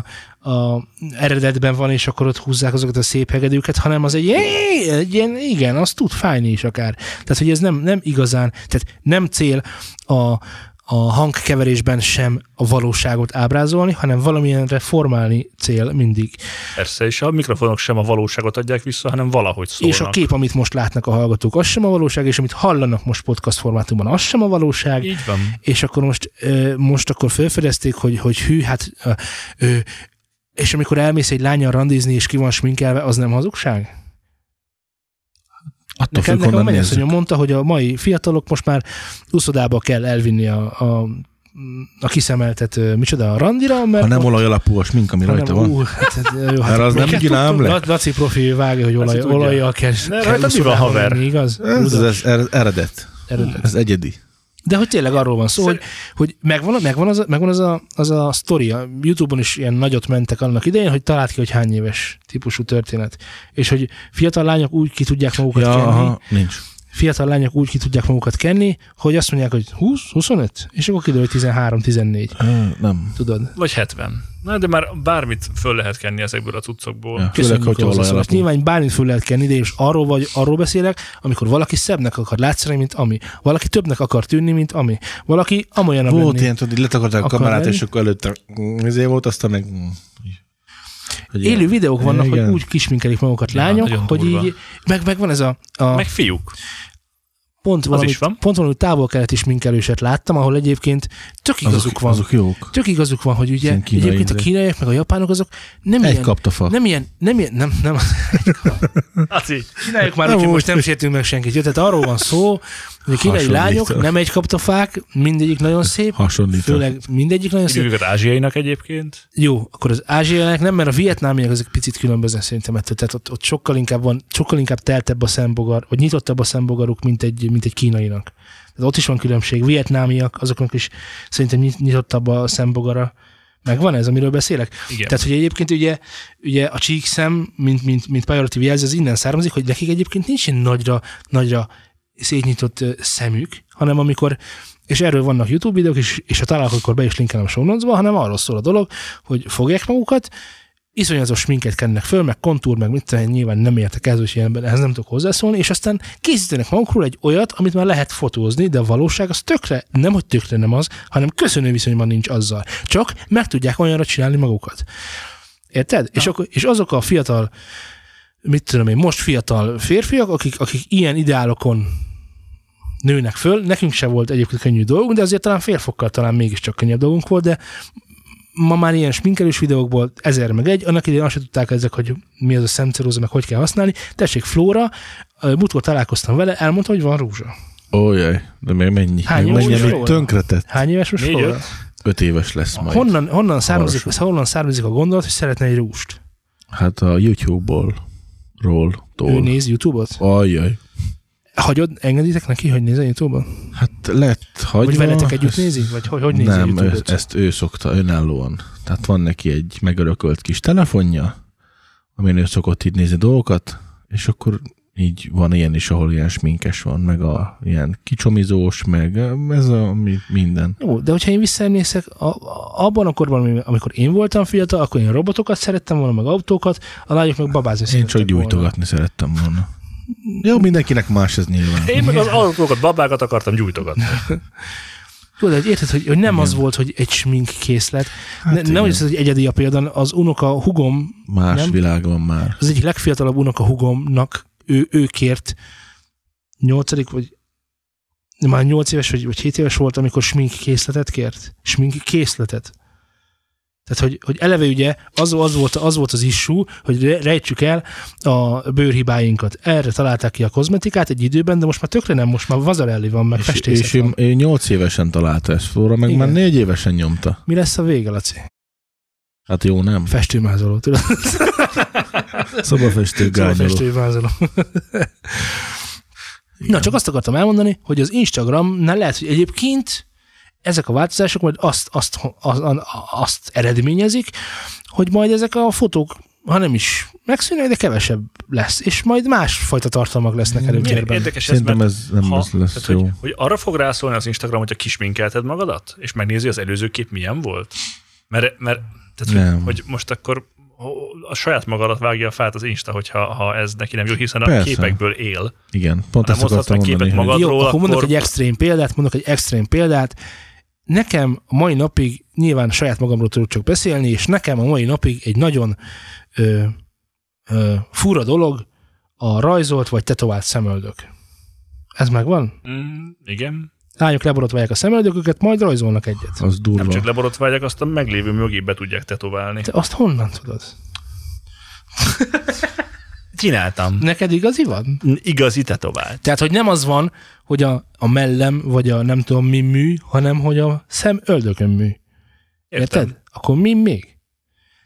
A: a eredetben van, és akkor ott húzzák azokat a szép hegedűket, hanem az egy, "Jé!" egy ilyen, igen, az tud fájni is akár. Tehát, hogy ez nem, nem igazán, tehát nem cél a, a hangkeverésben sem a valóságot ábrázolni, hanem valamilyenre formálni cél mindig.
C: Persze, és a mikrofonok sem a valóságot adják vissza, hanem valahogy szólnak.
A: És a kép, amit most látnak a hallgatók, az sem a valóság, és amit hallanak most podcast formátumban, az sem a valóság.
C: Így van.
A: és akkor most, ö, most akkor felfedezték, hogy, hogy hű, hát ö, ö, és amikor elmész egy lányan randizni, és ki van sminkelve, az nem hazugság?
B: Attól
A: Nekem,
B: függ,
A: nekem a
B: honnan nézzük.
A: mennyasszonyom mondta, hogy a mai fiatalok most már uszodába kell elvinni a, a, a kiszemeltet, ö, micsoda, a randira, mert
B: Ha nem
A: ott-
B: olaj alapú a smink, ami
A: hanem-
B: rajta van.
A: Ú, hát, ez- jó,
B: Mert az nem
A: minket
B: ginám
A: tudtuk,
B: le.
A: Lac- Laci profi vágja, hogy olaj,
C: Laci tudja.
A: olajjal kell,
C: Ne,
A: kell
C: rajta mi van,
A: uszodába
C: haver?
A: menni, igaz?
B: Ez,
A: Uda-
B: ez, ez eredet.
A: eredet.
B: Ez egyedi.
A: De hogy tényleg arról van szó,
C: Szer-
A: hogy, hogy megvan, megvan, az, a- megvan az, a, az a sztori. A Youtube-on is ilyen nagyot mentek annak idején, hogy talált ki, hogy hány éves típusú történet. És hogy fiatal lányok úgy ki tudják magukat
B: Ja,
A: ja, kenni,
B: aha, nincs.
A: fiatal lányok úgy ki tudják magukat kenni, hogy azt mondják, hogy 20, 25, és akkor kiderül, hogy 13-14.
B: Ö, Nem.
A: Tudod?
C: Vagy 70. Na, de már bármit föl lehet kenni ezekből a cuccokból.
B: Ja. Főleg,
A: Köszönjük
B: hogyha
A: a
B: olaj
A: hozzászólást.
B: alapú.
A: Nyilván bármit föl lehet kenni, de és arról vagy arról beszélek, amikor valaki szebbnek akar látszani, mint ami. Valaki többnek akar tűnni, mint ami. Valaki amolyan
B: Volt ilyen, tudod, így letakarták a
A: Akar
B: kamerát,
A: lenni?
B: és akkor előtte ezért volt, aztán meg... Hogy ilyen.
A: Élő videók vannak,
B: Igen.
A: hogy úgy kisminkelik magukat
C: Igen,
A: lányok,
C: nagyon
A: hogy
C: durva.
A: így, meg, meg van ez a, a
C: Meg fiúk.
A: pont, valami,
C: is van.
A: pont valami távol-keleti sminkelőset láttam, ahol egyébként tök igazuk
B: azok,
A: van.
B: azok jók.
A: Tök igazuk van, hogy ugye
B: Ilyen kínai
A: egyébként a
B: izé.
A: kínaiak meg a japánok azok nem
B: Egy
A: ilyen,
B: kapta fa.
A: nem ilyen, nem ilyen, nem, nem,
C: Laci,
A: csináljuk már,
B: Hm.
C: Hát
B: Nem
A: úgyhogy
B: úgy.
A: most nem sértünk meg senkit. Jó, tehát arról van szó, Ugye kínai
B: Hasonlít.
A: lányok, nem egy kaptafák, mindegyik nagyon szép,
B: Hasonlító.
A: főleg mindegyik nagyon
C: Hívjuk
A: szép.
C: őket ázsiainak egyébként.
A: Jó, akkor az ázsiaiak nem, mert a vietnámiak ezek picit különböznek szerintem ettől, tehát ott, ott sokkal inkább van, sokkal inkább teltebb a szembogar, vagy nyitottabb a szembogaruk, mint egy, mint egy kínainak. Tehát ott is van különbség. Vietnámiak, azoknak is szerintem nyit- nyitottabb a szembogara. Megvan ez, amiről beszélek?
C: Igen.
A: Tehát, hogy egyébként ugye, ugye a csíkszem, mint, mint, mint pejoratív jelző, az innen származik, hogy nekik egyébként nincs ilyen nagyra, nagyra szétnyitott ö, szemük, hanem amikor, és erről vannak YouTube videók, és, és ha találok, akkor be is linkelem a show notes-ba, hanem arról szól a dolog, hogy fogják magukat, iszonyatos sminket kennek föl, meg kontúr, meg mit tudom, én, nyilván nem értek ez, úgyhogy ilyenben ehhez nem tudok hozzászólni, és aztán készítenek magukról egy olyat, amit már lehet fotózni, de a valóság az tökre, nem hogy tökre nem az, hanem köszönő viszonyban nincs azzal. Csak meg tudják olyanra csinálni magukat. Érted? És, akkor, és azok a fiatal, mit tudom én, most fiatal férfiak, akik, akik ilyen ideálokon nőnek föl, nekünk se volt egyébként könnyű dolgunk, de azért talán félfokkal talán mégiscsak könnyebb dolgunk volt, de ma már ilyen sminkelős videókból ezer meg egy, annak idején azt sem tudták ezek, hogy mi az a szemceróza, meg hogy kell használni. Tessék, Flóra, ö, múltkor találkoztam vele, elmondta, hogy van rúzsa.
B: Ójaj, de még mennyi?
A: Hány
B: Még
A: éves
B: mennyi,
A: is
B: amit
A: volt?
B: tönkretett?
A: Hány éves most
C: Négy,
A: Flóra?
C: öt.
B: Öt éves lesz majd.
A: Honnan, honnan, származik,
B: Hamarosan.
A: honnan származik a gondolat, hogy szeretne egy rúst?
B: Hát a YouTube-ból. Ról.
A: Ő
B: Tól.
A: néz YouTube-ot?
B: Ajjaj.
A: Hagyod, engeditek neki, hogy nézzen YouTube-on?
B: Hát lett hagyva.
A: Vagy veletek együtt
B: ezt-
A: nézi? Vagy hogy, hogy nézi
B: Nem, ő,
A: YouTube-ot?
B: ezt ő szokta önállóan. Tehát van neki egy megörökölt kis telefonja, amin ő szokott így nézni dolgokat, és akkor így van ilyen is, ahol ilyen sminkes van, meg a ilyen kicsomizós, meg eh, ez a mi- minden.
A: Jó, de hogyha én visszaemlékszek, a, a, abban a korban, ami- amikor én voltam fiatal, akkor én robotokat szerettem volna, meg autókat, a lányok meg babázni
B: Én
A: szerettek
B: csak gyújtogatni szerettem volna. Jó, mindenkinek más ez nyilván.
C: Én meg az autókat, babákat akartam gyújtogatni.
A: Jó, de hogy érted, hogy, hogy nem igen. az volt, hogy egy sminkkészlet. Hát ne,
B: igen.
A: nem az, hogy egyedi a példa, az unoka hugom,
B: Más
A: Nem?
B: nem? világ van már.
A: az egyik legfiatalabb unoka hugomnak ő, ő kért nyolcadik, vagy már nyolc éves, vagy, vagy hét éves volt, amikor sminkkészletet kért. Sminkkészletet. Tehát, hogy, hogy eleve ugye az, az, volt, az volt az issú, hogy re- rejtsük el a bőrhibáinkat. Erre találták ki a kozmetikát egy időben, de most már tökre nem, most már vazarelli van, meg
B: És, és
A: festészet
B: ő,
A: van.
B: ő nyolc évesen találta ezt flóra, meg
A: Igen.
B: Igen. már négy évesen nyomta.
A: Mi lesz a vége, Laci?
B: Hát jó, nem?
A: Festőmázoló, tudod?
B: Szobafestő gányoló.
A: Festői vázoló. Na, csak azt akartam elmondani, hogy az Instagramnál lehet, hogy egyébként ezek a változások majd azt, azt, azt, azt eredményezik, hogy majd ezek a fotók, ha nem is megszűnnek, de kevesebb lesz, és majd másfajta tartalmak lesznek
C: Milyen
A: előtérben.
C: érdekes ez, mert
B: Szerintem ez nem
C: ha,
B: ha, lesz
C: tehát,
B: jó.
C: Hogy, hogy arra fog rászólni az Instagram, hogyha kisminkelted magadat, és megnézi az előző kép milyen volt? Mert, mert tehát, hogy,
B: Nem.
C: hogy most akkor a saját magadat vágja a fát az Insta, hogyha ha ez neki nem jó, hiszen a
B: Persze.
C: képekből él.
B: Igen, pont
C: nem
B: ezt akartam
C: hozhatsz meg
B: mondani.
C: képet
B: hogy-
C: magad-
A: Jó,
C: Adról
A: akkor mondok
C: akkor-
A: egy extrém példát, mondok egy extrém példát. Nekem a mai napig, nyilván saját magamról tudok csak beszélni, és nekem a mai napig egy nagyon ö, ö, fura dolog a rajzolt vagy tetovált szemöldök. Ez megvan?
C: Mm, igen.
A: Lányok leborotválják a szemöldöküket, majd rajzolnak egyet.
B: Az
C: Nem
B: durva.
C: csak leborotválják, azt a meglévő mögé be tudják tetoválni.
A: Te azt honnan tudod?
C: Csináltam.
A: Neked igazi van?
C: Igazi tetovált.
A: Tehát, hogy nem az van, hogy a, a mellem, vagy a nem tudom mi mű, hanem hogy a szemöldökön mű.
C: Értem.
A: Érted? Akkor mi még?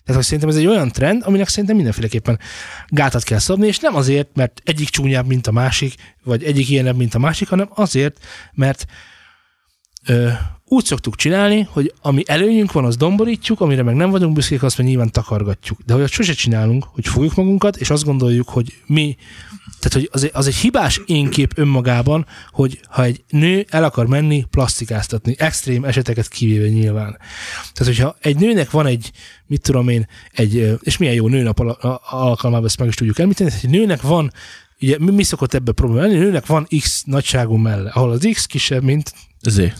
A: Tehát hogy szerintem ez egy olyan trend, aminek szerintem mindenféleképpen gátat kell szabni, és nem azért, mert egyik csúnyább, mint a másik, vagy egyik ilyenebb, mint a másik, hanem azért, mert ö, úgy szoktuk csinálni, hogy ami előnyünk van, az domborítjuk, amire meg nem vagyunk büszkék, azt meg nyilván takargatjuk. De hogy azt sose csinálunk, hogy fogjuk magunkat, és azt gondoljuk, hogy mi tehát, hogy az, egy- az egy hibás énkép önmagában, hogy ha egy nő el akar menni plastikáztatni, extrém eseteket kivéve nyilván. Tehát, hogyha egy nőnek van egy, mit tudom én, egy, ö, és milyen jó nőnap al- a- alkalmában ezt meg is tudjuk említeni, tehát egy nőnek van, ugye mi, mi szokott ebbe probléma lenni, egy nőnek van X nagyságú melle, ahol az X kisebb, mint
B: Zé.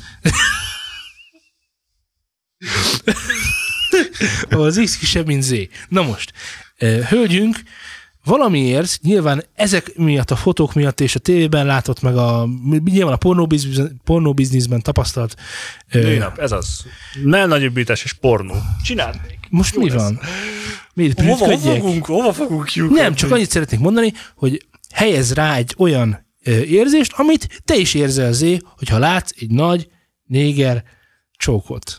A: ahol az X kisebb, mint Z. Na most, ö, hölgyünk valamiért, nyilván ezek miatt, a fotók miatt és a tévében látott meg a, nyilván a pornóbizniszben, pornóbizniszben tapasztalt ö,
C: Nőnap, ez az. Ne nagyobbítás és pornó. Csináld még.
A: Most
C: Jó
A: mi
C: lesz.
A: van? Miért
C: Hova, hova
A: prüszködjek?
C: fogunk, hova fogunk jutni?
A: Nem, csak annyit szeretnék mondani, hogy helyez rá egy olyan ö, érzést, amit te is érzel zé, hogyha látsz egy nagy néger csókot.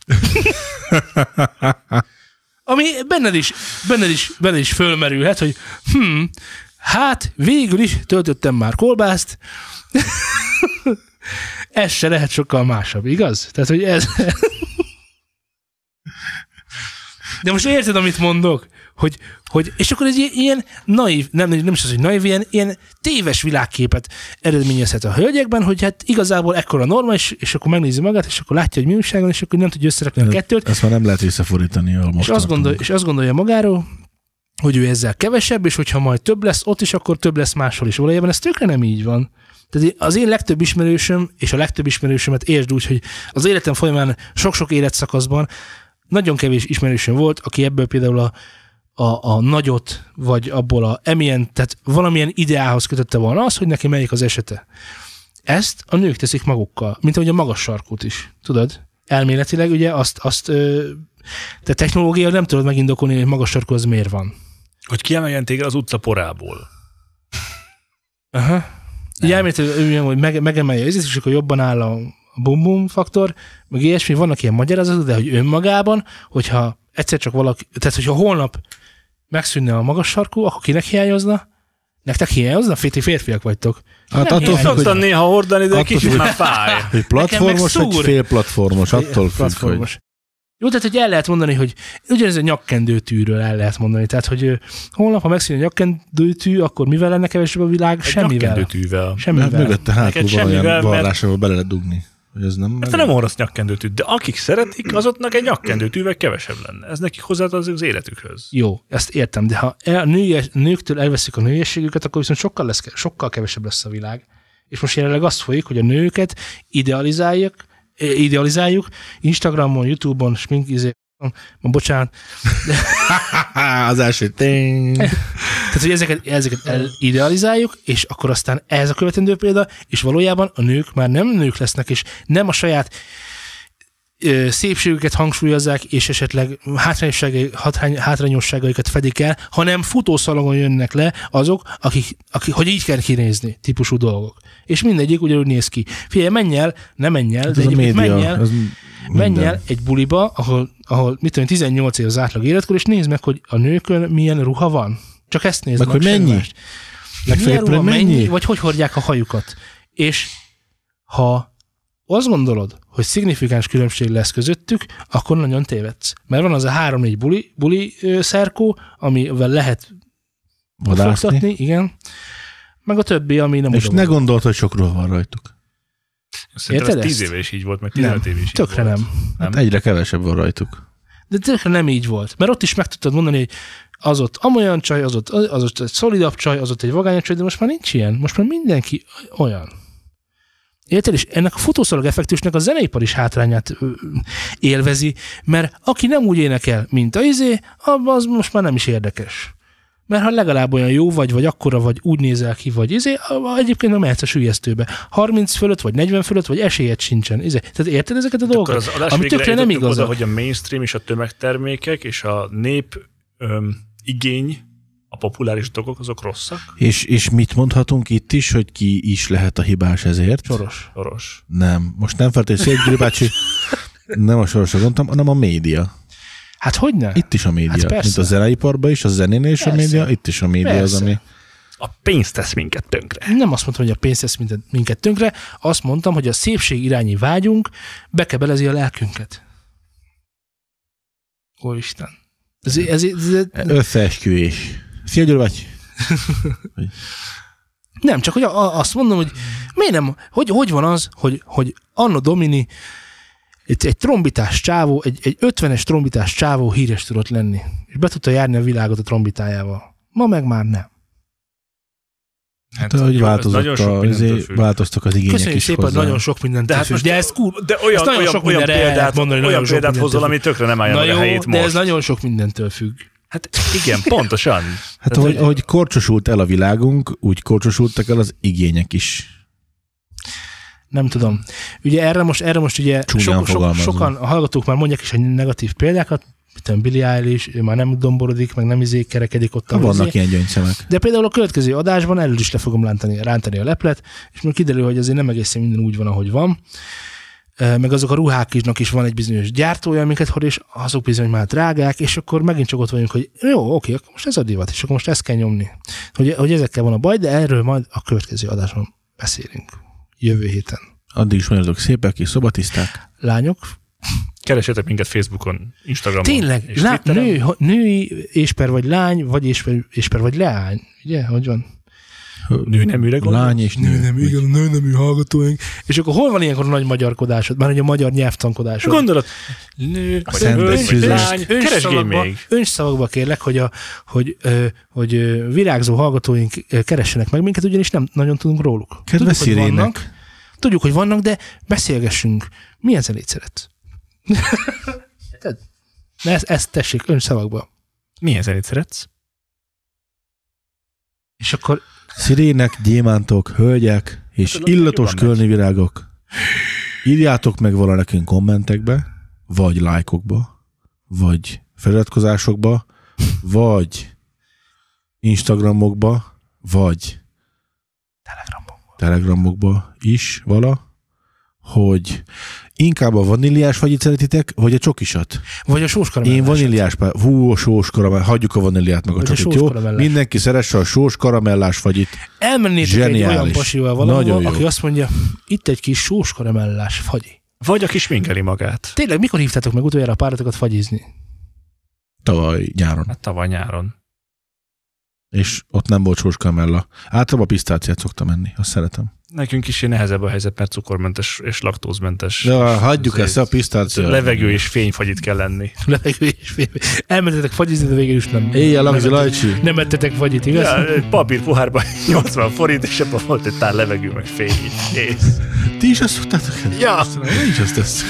A: Ami benned is, benned is, benned is fölmerülhet, hogy hm, hát végül is töltöttem már kolbászt, ez se lehet sokkal másabb, igaz? Tehát, hogy ez... De most érted, amit mondok? Hogy, hogy, és akkor ez ilyen, ilyen naív, nem, nem is az, hogy naív, ilyen, ilyen téves világképet eredményezhet a hölgyekben, hogy hát igazából ekkora norma, és, és akkor megnézi magát, és akkor látja, hogy mi újságon, és akkor nem tudja összerakni a kettőt,
B: Ezt már nem lehet visszafordítani, ahol most
A: és azt, gondol, és azt gondolja magáról, hogy ő ezzel kevesebb, és hogyha majd több lesz ott is, akkor több lesz máshol is. Valójában ez tökre nem így van. Tehát az én legtöbb ismerősöm, és a legtöbb ismerősömet értsd úgy, hogy az életem folyamán sok-sok életszakaszban nagyon kevés ismerősöm volt, aki ebből például a, a, a nagyot, vagy abból a emilyen, tehát valamilyen ideához kötötte volna az, hogy neki melyik az esete. Ezt a nők teszik magukkal, mint ahogy a magas sarkút is, tudod? Elméletileg ugye azt, azt ö, te technológia nem tudod megindokolni, hogy egy magas sarkú az miért van.
C: Hogy kiemeljen téged az utca porából.
A: Aha. Ugye elméletileg, hogy meg, megemelje az ízét, és akkor jobban áll a bum-bum faktor, meg ilyesmi, vannak ilyen magyarázatok, de hogy önmagában, hogyha egyszer csak valaki, tehát hogyha holnap megszűnne a magas sarkú, akkor kinek hiányozna? Nektek hiányozna? Féti férfiak vagytok.
B: Hát
A: Nem
B: attól
A: hiányzik.
B: függ,
C: Szoktam
B: hogy,
C: néha hordani, de
B: Attól
C: kicsit
B: függ.
C: már fáj.
B: hogy platformos
A: Nekem meg
B: vagy
A: szúr.
B: félplatformos, attól függ, hogy
A: Platformos. Jó, tehát hogy el lehet mondani, hogy ugyanez a nyakkendőtűről el lehet mondani. Tehát, hogy ö, holnap, ha megszűnik a nyakkendőtű, akkor mivel lenne kevesebb a világ? Semmivel.
C: Nyakkendőtűvel.
B: mert
A: Semmivel.
B: Hát mögötte hátul van
C: semmivel,
B: olyan
C: mert-
B: varrás, ahol bele lehet dugni. Hogy ez nem
A: Hát
C: Te Hát nem orrasz nyakkendőtűt, de akik szeretik, azoknak egy nyakkendőtűvel kevesebb lenne. Ez nekik hozzátartozik az életükhöz.
A: Jó, ezt értem, de ha el, nőies, nőktől elveszik a nőiességüket, akkor viszont sokkal, lesz, sokkal kevesebb lesz a világ. És most jelenleg az folyik, hogy a nőket idealizáljuk, eh, idealizáljuk Instagramon, Youtube-on, sminkizé, ma bocsánat,
B: Á, az első tény. Hát
A: tehát hogy ezeket, ezeket el- idealizáljuk, és akkor aztán ez a követendő példa, és valójában a nők már nem nők lesznek, és nem a saját ö, szépségüket hangsúlyozzák, és esetleg hátrányosságai- hatrány- hátrányosságaikat fedik el, hanem futószalagon jönnek le azok, akik, akik, hogy így kell kinézni, típusú dolgok. És mindegyik ugyanúgy néz ki. Figyelj, menj el, ne menj el,
B: Hát Ez
A: de
B: a
A: egyébként menj
B: média.
A: el,
B: ez
A: Menj
B: minden.
A: el egy buliba, ahol, ahol mit tudom, én, 18 év az átlag életkor, és nézd meg, hogy a nőkön milyen ruha van. Csak ezt nézd
B: Meg,
A: meg.
B: hogy
A: semmi
B: mennyi?
A: mást. Milyen
B: Legfeljebb
A: ruha, mennyi?
B: mennyi?
A: Vagy hogy hordják a hajukat. És ha azt gondolod, hogy szignifikáns különbség lesz közöttük, akkor nagyon tévedsz. Mert van az a három-négy buli, buli ö, szerkó, amivel lehet
B: Vadászni.
A: fogtatni, igen, meg a többi, ami nem
B: És
A: oda
B: ne
A: való.
B: gondolt, hogy sok ruha van rajtuk.
C: Szerintem
A: Érted
C: ez 10
A: ezt?
C: éve is így volt, meg 15 éve is így
A: Tökre
C: volt.
A: nem.
B: Hát egyre kevesebb van rajtuk.
A: De tökre nem így volt. Mert ott is meg tudtad mondani, hogy az ott amolyan csaj, az ott, az ott egy szolidabb csaj, az ott egy vagányabb csaj, de most már nincs ilyen. Most már mindenki olyan. Érted? És ennek a futószalag effektusnak a zeneipar is hátrányát ö, élvezi, mert aki nem úgy énekel, mint a izé, abba az most már nem is érdekes. Mert ha legalább olyan jó vagy, vagy akkora vagy, úgy nézel ki, vagy izé, a- egyébként nem mehetsz a sülyeztőbe. 30 fölött, vagy 40 fölött, vagy esélyed sincsen. Izé. Tehát érted ezeket a
C: Akkor
A: dolgokat?
C: az adás
A: Ami
C: végére
A: tökre nem
C: eljutottunk
A: igazak.
C: Oda, hogy a mainstream és a tömegtermékek és a nép öm, igény, a populáris dolgok, azok rosszak?
B: És, és mit mondhatunk itt is, hogy ki is lehet a hibás ezért?
A: Soros.
C: Soros.
B: Nem. Most nem feltétlenül Székgyőri bácsi, nem a sorosra gondoltam, hanem a média.
A: Hát hogy ne?
B: Itt is a média.
A: Hát persze.
B: Mint a zeneiparban is, a zenénél is
A: Persze.
B: a média, itt is a média az,
A: Persze.
B: ami...
C: A pénz tesz minket tönkre.
A: nem azt mondtam, hogy a pénz tesz minket, minket tönkre, azt mondtam, hogy a szépség irányi vágyunk bekebelezi a lelkünket. Úristen. Ez, ez, ez, ez,
B: Összeesküvés. Szia, Győr bácsi.
A: nem, csak hogy a, a, azt mondom, hogy miért nem, hogy, hogy van az, hogy, hogy Anno Domini egy, egy trombitás csávó, egy, egy 50-es trombitás csávó híres tudott lenni, és be tudta járni a világot a trombitájával. Ma meg már nem.
C: Hát,
B: Te, hogy
C: jó, ez
B: változott a,
C: mindentől
B: azért
C: függ.
B: változtak az igények
A: Köszönjük
B: is
A: szépen,
B: hozzá.
A: nagyon sok mindent
C: De hát
A: teszünk,
C: most
A: de ez kur...
C: De olyan,
A: Ezt nagyon
C: olyan,
A: sok
C: olyan
A: mindenre el lehet
C: példát,
A: mondani,
C: mondani,
A: nagyon
C: olyan
A: sok
C: példát
A: mindentől
C: hozol, ami tökre nem állja
A: Na
C: meg a
A: jó,
C: helyét
A: de ez
C: most.
A: nagyon sok mindentől függ.
C: Hát igen, pontosan.
B: Hát ahogy, ahogy korcsosult el a világunk, úgy korcsosultak el az igények is.
A: Nem tudom. Ugye erre most, erre most ugye
B: Csúnyán
A: sok, sok,
B: fogalmazom.
A: sokan a hallgatók már mondják is a negatív példákat, mit tudom, Billy Eilish, ő már nem domborodik, meg nem izé kerekedik ott.
B: Ha
A: ahol
B: vannak
A: izé.
B: ilyen gyöngyszemek.
A: De például a következő adásban elől is le fogom rántani, rántani a leplet, és majd kiderül, hogy azért nem egészen minden úgy van, ahogy van. E, Meg azok a ruháknak is van egy bizonyos gyártója, amiket hord, és azok bizony már drágák, és akkor megint csak ott vagyunk, hogy jó, oké, akkor most ez a divat, és akkor most ezt kell nyomni. Hogy, hogy ezekkel van a baj, de erről majd a következő adásban beszélünk. Jövő héten.
B: Addig is vagyatok szépek és szobatiszták.
A: Lányok,
C: Keresetek minket Facebookon, Instagramon.
A: Tényleg,
C: és
A: lá,
C: Twitteren.
A: nő, ha- női ésper vagy lány, vagy ésper, ésper vagy leány. Ugye, hogy van?
C: Nő neműre gondolsz?
B: Lány és nő.
A: igen, nő nemű hallgatóink. És akkor hol van ilyenkor a nagy magyarkodásod? Már hogy a magyar nyelvtankodásod.
C: Gondolod, nő, vagy
B: szent
C: hölgy, vagy
B: szüzest.
C: lány, keresgélj még.
A: önszavakba kérlek, hogy, a, hogy, ö, hogy ö, virágzó hallgatóink ö, keressenek meg minket, ugyanis nem nagyon tudunk róluk.
B: Kedves
A: tudjuk, hogy vannak,
B: szirének.
A: tudjuk, hogy vannak, de beszélgessünk. Milyen zenét szeret? Érted? Na ezt, ezt tessék önszavakba.
C: Milyen zenét szeretsz?
A: És akkor
B: Szirének, gyémántok, hölgyek és
C: Hát,
B: illatos
C: jobban megy.
B: kölni virágok. Írjátok meg vala nekünk kommentekbe, vagy lájkokba, vagy feliratkozásokba, vagy Instagramokba, vagy
A: telegramon.
B: telegramokba is vala, hogy inkább a vaníliás fagyit szeretitek, vagy a csokisat?
A: Vagy a sós
B: Én
A: karamellás.
B: vaníliás, pá- hú, a sós karamell, hagyjuk a vaníliát meg a
A: Vagy a
B: csokit,
A: sós
B: jó?
A: karamellás.
B: Mindenki szeresse a sós karamellás fagyit.
A: Elmennétek Zseniális. egy
B: Zseniális.
A: olyan pasival
B: Nagyon
A: valahol,
B: jó.
A: aki azt mondja, itt egy kis sós karamellás fagyi.
C: Vagy aki sminkeli magát.
A: Tényleg, mikor hívtátok meg utoljára a páratokat fagyizni?
B: Tavaly nyáron.
C: Hát tavaly nyáron.
B: és ott nem volt sós kamella. Általában pisztáciát szoktam menni, azt szeretem.
C: Nekünk is ilyen nehezebb a helyzet, mert cukormentes és laktózmentes.
B: De ha hagyjuk
C: Azért
B: ezt a pisztáciát.
C: Levegő és fényfagyit kell lenni.
A: Levegő és férfi. Elmentetek fagyizni, de végül is nem.
B: Éjjel Lagzi Lajcsi.
A: Nem ettetek fagyit, igaz?
C: Ja, egy papír pohárban 80 forint, és ebben volt egy tál levegő, meg fény. Kész.
B: Ti is azt szoktátok?
C: Ja.
B: Én is azt teszek.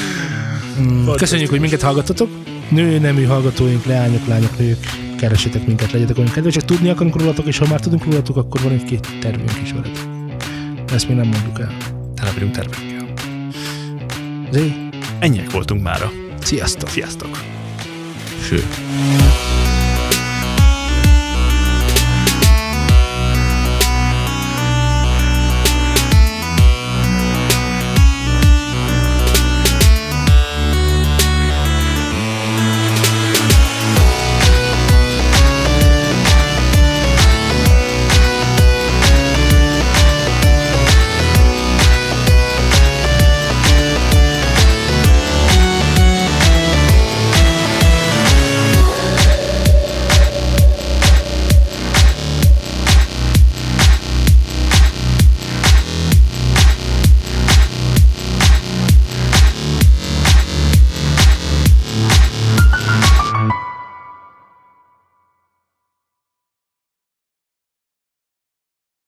A: Hm. Köszönjük, hogy minket hallgatotok. Nő, nemű hallgatóink, leányok, lányok, nők, keresetek minket, legyetek olyan kedvesek. Tudni akarunk rólatok, és ha már tudunk rólatok, akkor van egy-két tervünk is veletek. Ezt még nem mondjuk el.
C: Tele vagyunk tervekkel.
A: Zé,
C: Ennyiek voltunk mára.
A: sziasztok!
C: Sziasztok!
B: Sőt.